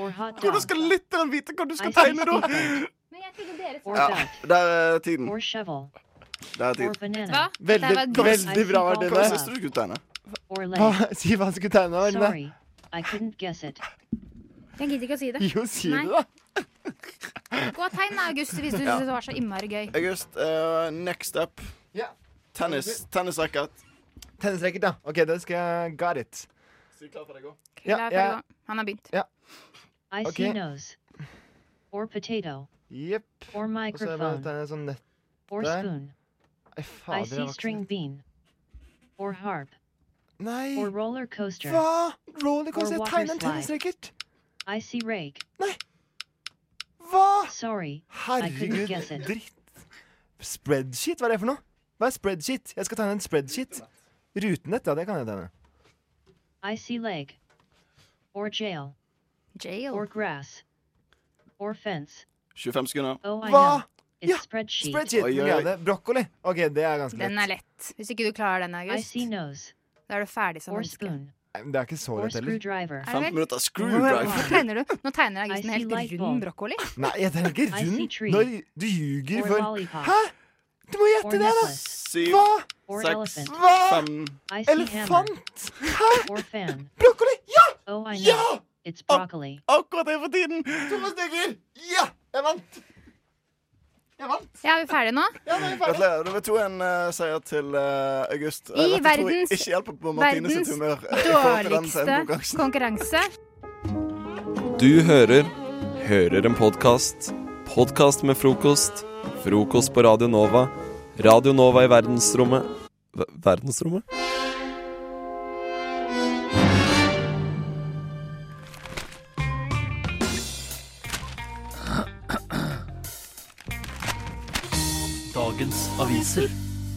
Hvordan skal lytteren vite hva du I skal see tegne, da? speaker. Men jeg trodde dere Ja, sa det. der er tiden. Or shovel. Der er Or tiden. banana. Veldig, veldig bra, Hva Martine. syns du du skulle tegne? Or Hva- leg. Si hva du skulle tegne, Martine. Sorry, I couldn't guess it. Jeg gidder ikke å si det. Jo, si Nei. det, da. Gå og tegn, da, August, hvis du Ja. synes det var så innmari gøy. August, eh, next up. Tennis. Tennisracket. Tennisracket, ja. OK, den skal jeg Got it. Så du klar for deg òg? Ja, Klar, ja. ferdig, gå. Han har begynt. I Ok. see nose. Or potato. Jepp. Or Og så er det microphone. bare en sånn nett Or der. spoon. Ei, I fader, det see var ikke string bean. Or harp. Nei. Or roller coaster. Hva? Rollercoaster? Or Jeg water tegner en slide. tennisracket. I see rake. Hva? Sorry, I couldn't Herregud, guess it. dritt. Spreadsheet, hva er det for noe? Hva er spreadsheet? Jeg skal tegne en spreadsheet. Rutenett, ja, det kan jeg tegne. I see leg. Or jail. Jail. Or grass. Or fence. 25 sekunder. Oh, I Hva? know. It's spreadsheet. Spreadsheet, Oi, oi, oi. Marianne. Brokkoli. Ok, det er ganske lett. Den er lett. Hvis ikke du klarer den, I August, see nose. da er du ferdig som Or menneske. spoon. Nei, men Det er ikke så Or lett heller. Er screwdriver. det vel? minutter. Nå tegner du. Nå tegner August en helt rund brokkoli. Nei, jeg tegner ikke I see rund. tree. Når du ljuger Or for lollipop. Hæ? Du må Or gjette det, da! necklace. Syv, Hva? Or seks, elephant. Hva? fem I see hammer. Elefant? Hæ? Or fan. Brokkoli? Ja! Oh, I know. Ja! It's broccoli. Akkurat det er for tiden! Thomas Deger! Ja! Jeg vant! Jeg vant! Ja, er vi ferdige nå? Ja, nå er vi ferdig. Gratulerer. Det var 2-1-seier til eh, August. I Dette tror jeg verdens- ikke hjelper på Martine sitt Verdens humør. eh, i forhold til den dårligste seieren. konkurranse. Du hører Hører en podkast. Podkast med frokost. Frokost på Radio Nova. Radio Nova i verdensrommet Ver- Verdensrommet? Dagens aviser.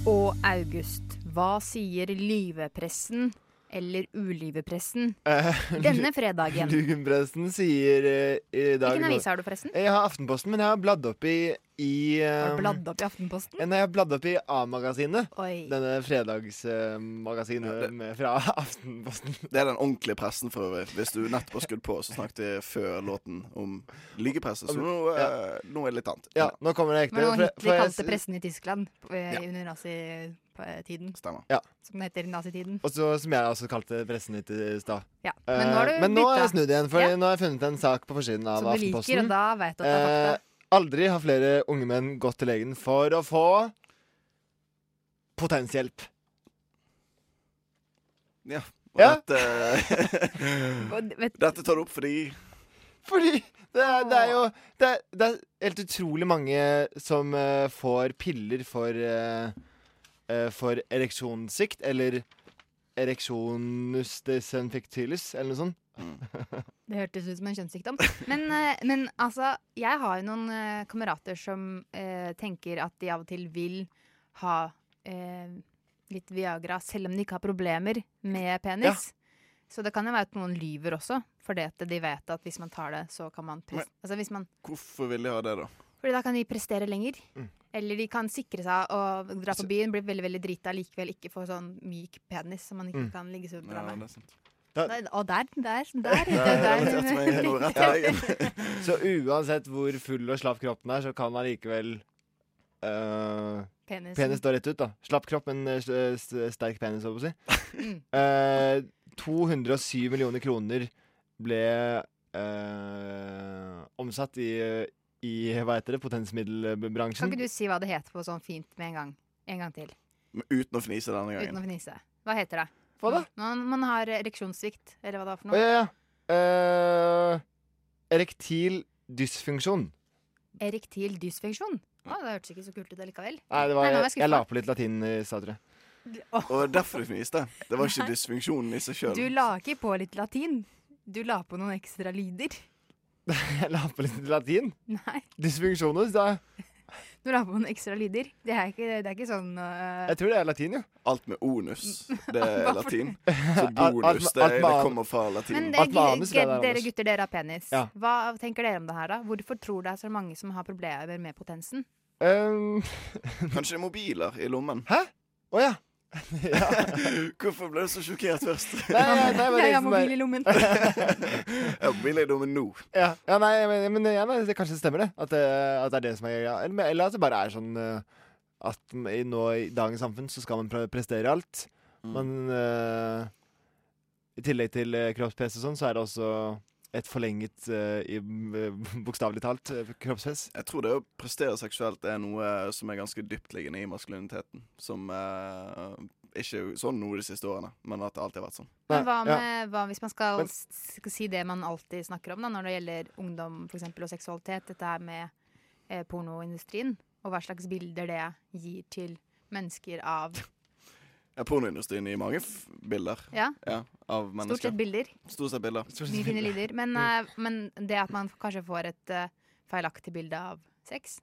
Og August, hva sier lyvepressen eller ulivepressen Eh, denne fredagen? Lugenpressen sier eh, i dag Hvilken avis har du, forresten? Jeg har Aftenposten, men jeg har bladd opp i, i eh, Har du bladd opp i Aftenposten? Nei, jeg har bladd opp i A-magasinet. Oi. Denne fredagsmagasinet med fra Aftenposten. Det er den ordentlige pressen for øvrig. Hvis du nettopp har skutt på, så snakket vi før låten om lygepresse. Så nå, eh, nå er det litt annet. Ja, nå kommer det Det var noe ekte. for- Hitler for jeg- kalte pressen i Tyskland på- eh, under nazitiden. Stemmer. Ja. Som det heter i nazitiden. Og så, som jeg også kalte pressen litt i stad. Ja, Eh, men nå har du men nå har jeg bytta. snudd igjen, for Ja. nå har jeg funnet en sak på forsiden av Som du liker, Aftenposten. og da vet du at det er fakta. Eh, aldri har flere unge menn gått til legen for å få potenshjelp. Ja. Og Ja. Dette, dette tar du opp fordi Fordi det er, det er jo det er, det er helt utrolig mange som eh, får piller for eh, eh, For ereksjonssvikt, eller ereksjonus desinfectilis, eller noe sånt. Det hørtes ut som en kjønnssykdom. Men, eh, men altså, jeg har jo noen eh, kamerater som eh, tenker at de av og til vil ha eh, litt Viagra, selv om de ikke har problemer med penis. Så det kan jo være at noen lyver også, fordi at de vet at hvis man tar det, så kan man pres Men- altså, hvis man, Hvorfor vil de ha det, da? Fordi da kan de prestere lenger. Mm. Eller de kan sikre seg og dra på byen, bli veldig veldig drita, likevel ikke få sånn myk penis som man ikke Mm. kan ligge så bra Ja, med. det er sant. Nei, Og der, der, der, Det der, er der, relatert meg noe rett i Ja. dagen. Så uansett hvor full og slapp kroppen er, så kan man likevel eh, Penisen. Penis står rett ut, da. Slapp kropp, men eh, s- s- sterk penis, holdt jeg på å si. Mm. Eh, 207 millioner kroner ble eh, omsatt i, i hva heter det, Kan potensmiddelbransjen. ikke du si hva det heter på sånn fint med en gang? En gang til. Men Uten å fnise denne Uten gangen. å fnise. Hva heter det? Hva da? Man, man har ereksjonssvikt, eller hva det er for Å, noe. ja, ja. Eh, erektil dysfunksjon. Erektil dysfunksjon. Å, det hørtes ikke så kult ut allikevel. Nei, det var, nå er jeg, jeg la skuffa. på litt latin i stad, tror jeg. Og det er derfor du fniste. Det var ikke dysfunksjonen i seg Du sjøl. la ikke på litt latin. Du la på noen ekstra lyder. Jeg la på litt latin. Nei, Dysfunksjonus, da. du la på noen ekstra lyder. Det er ikke, det er ikke sånn øh, Jeg tror det er latin, jo. Alt med onus, det er Hva for- latin. Så Alt- alt bonus, med- det, alt med det an- kommer fra latin. Men det, gu- dere gutter, dere har penis. Ja. Hva tenker dere om det her, da? Hvorfor tror det er så mange som har problemer med potensen? Kanskje det er mobiler i lommen. Hæ? Å ja. Hvorfor ble du så sjokkert først? Nei, nei, men Jeg har liksom bare- mobil i lommen. jeg har mobil i lommen nå. Ja, ja nei, men, men ja, nei, det kanskje stemmer det. At, det. at det er det som er greia. Eller, men- eller at det bare er sånn eh, at m- i, nå i dagens samfunn så skal man pre- prestere alt. Mm. Men eh, i tillegg til uh, kroppspress og sånn, så er det også et forlenget eh, i b- bokstavelig talt eh, kroppspress. Jeg tror det å prestere seksuelt er noe som er ganske dyptliggende i maskuliniteten. Som eh, ikke er sånn nå de siste årene, men at det alltid har vært sånn. Men hva, med, hva hvis man skal Men- s- s- si det man alltid snakker om da, når det gjelder ungdom for eksempel, og seksualitet, dette her med eh, pornoindustrien, og hva slags bilder det gir til mennesker av Ja, pornoindustrien gir mange f bilder Ja. av stort mennesker. sett bilder, Stort sett bilder. Mm. mye fine lyder, men, eh, men det at man kanskje får et eh, feilaktig bilde av sex.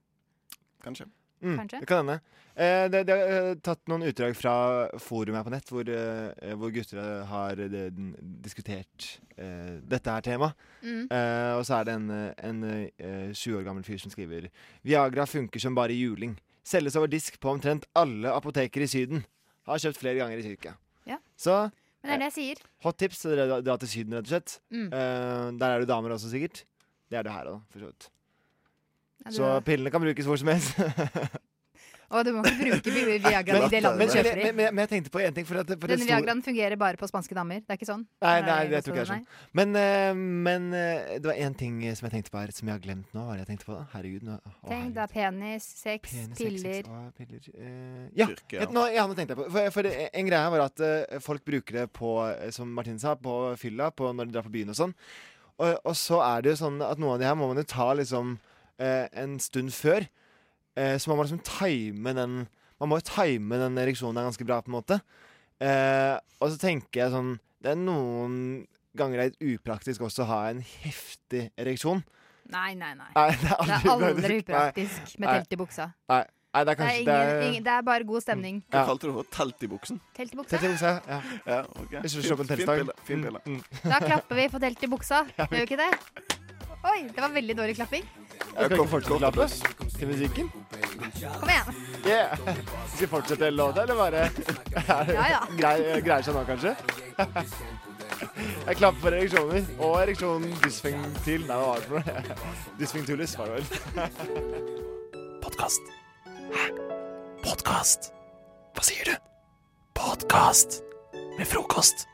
Kanskje. Mm, Kanskje. Det kan hende. Eh, det, det er eh, tatt noen utdrag fra forum her på nett, hvor, eh, hvor gutter har eh, det- den- diskutert eh, dette her temaet. Mm. Eh, og så er det en, eh, en eh, sju år gammel fyr som skriver Viagra funker som bare juling. Selges over disk på omtrent alle apoteker i Syden. Har kjøpt flere ganger i Tyrkia. Ja. Så Men det er det jeg sier. hot tips til dere å dra til Syden, rett og slett. Mm. Eh, der er det damer også, sikkert. Det er det her òg, for så vidt. Ja, du Så har- pillene kan brukes hvor som helst. Og du må ikke bruke vi- Viagra Men- i det landet men- du kjøper men- i. men- men jeg tenkte på en ting. For at, for det Denne sto- Viagraen fungerer bare på spanske damer. Det er ikke sånn. Her Nei, nei, i det tror ikke jeg er Vestlandet, sånn. Men, eh, men eh, det var én ting eh, som jeg tenkte på her, som jeg har glemt nå. Hva er det jeg tenkte på da? Herregud. Nå, å, nei. Tenk, det er penis, sex, Penis, sex, piller. sex, å, piller. Eh, ja, Styrke, ja. et, nå, ja, nå tenkte jeg på For, for det, en greie var at eh, folk bruker det på, eh, som Martin sa, på fylla på, når de drar på byen og sånn. Og, og så er det jo sånn at noen av de her må man jo ta liksom eh, en stund før. Eh, så man må liksom time den Man må jo time den ereksjonen der ganske bra, på en måte. Eh, og så tenker jeg sånn Det er noen ganger det er litt upraktisk også å ha en heftig ereksjon. Nei, nei, nei. Nei, det er aldri det er aldri upraktisk. Nei. upraktisk med Nei. telt i buksa. Nei. Nei, det er Det er, kanskje ingen, ingen, det er bare god stemning. Hva kalte du det? for? Telt i buksen? Telt i buksa. Telt i buksa, ja. Ja, ok. Hvis du Fint- kjøper en fint teltstang. Mm, bilde, Fint bilde. Da klapper vi for telt i buksa. Gjør vi ikke det? Oi, det var veldig dårlig klapping. Jeg kan ikke fortsette å klappe til musikken. Kom igjen. Yeah. Skal vi fortsette hele låta, eller bare Ja, ja. Grei- Greier seg nå, kanskje? Jeg klapper for ereksjoner. Og ereksjonen dysfenktil. Nei, hva var det for noe? Dysfenktulis, var det vel. Podkast. Hæ? Podkast? Hva sier du? Podkast med frokost.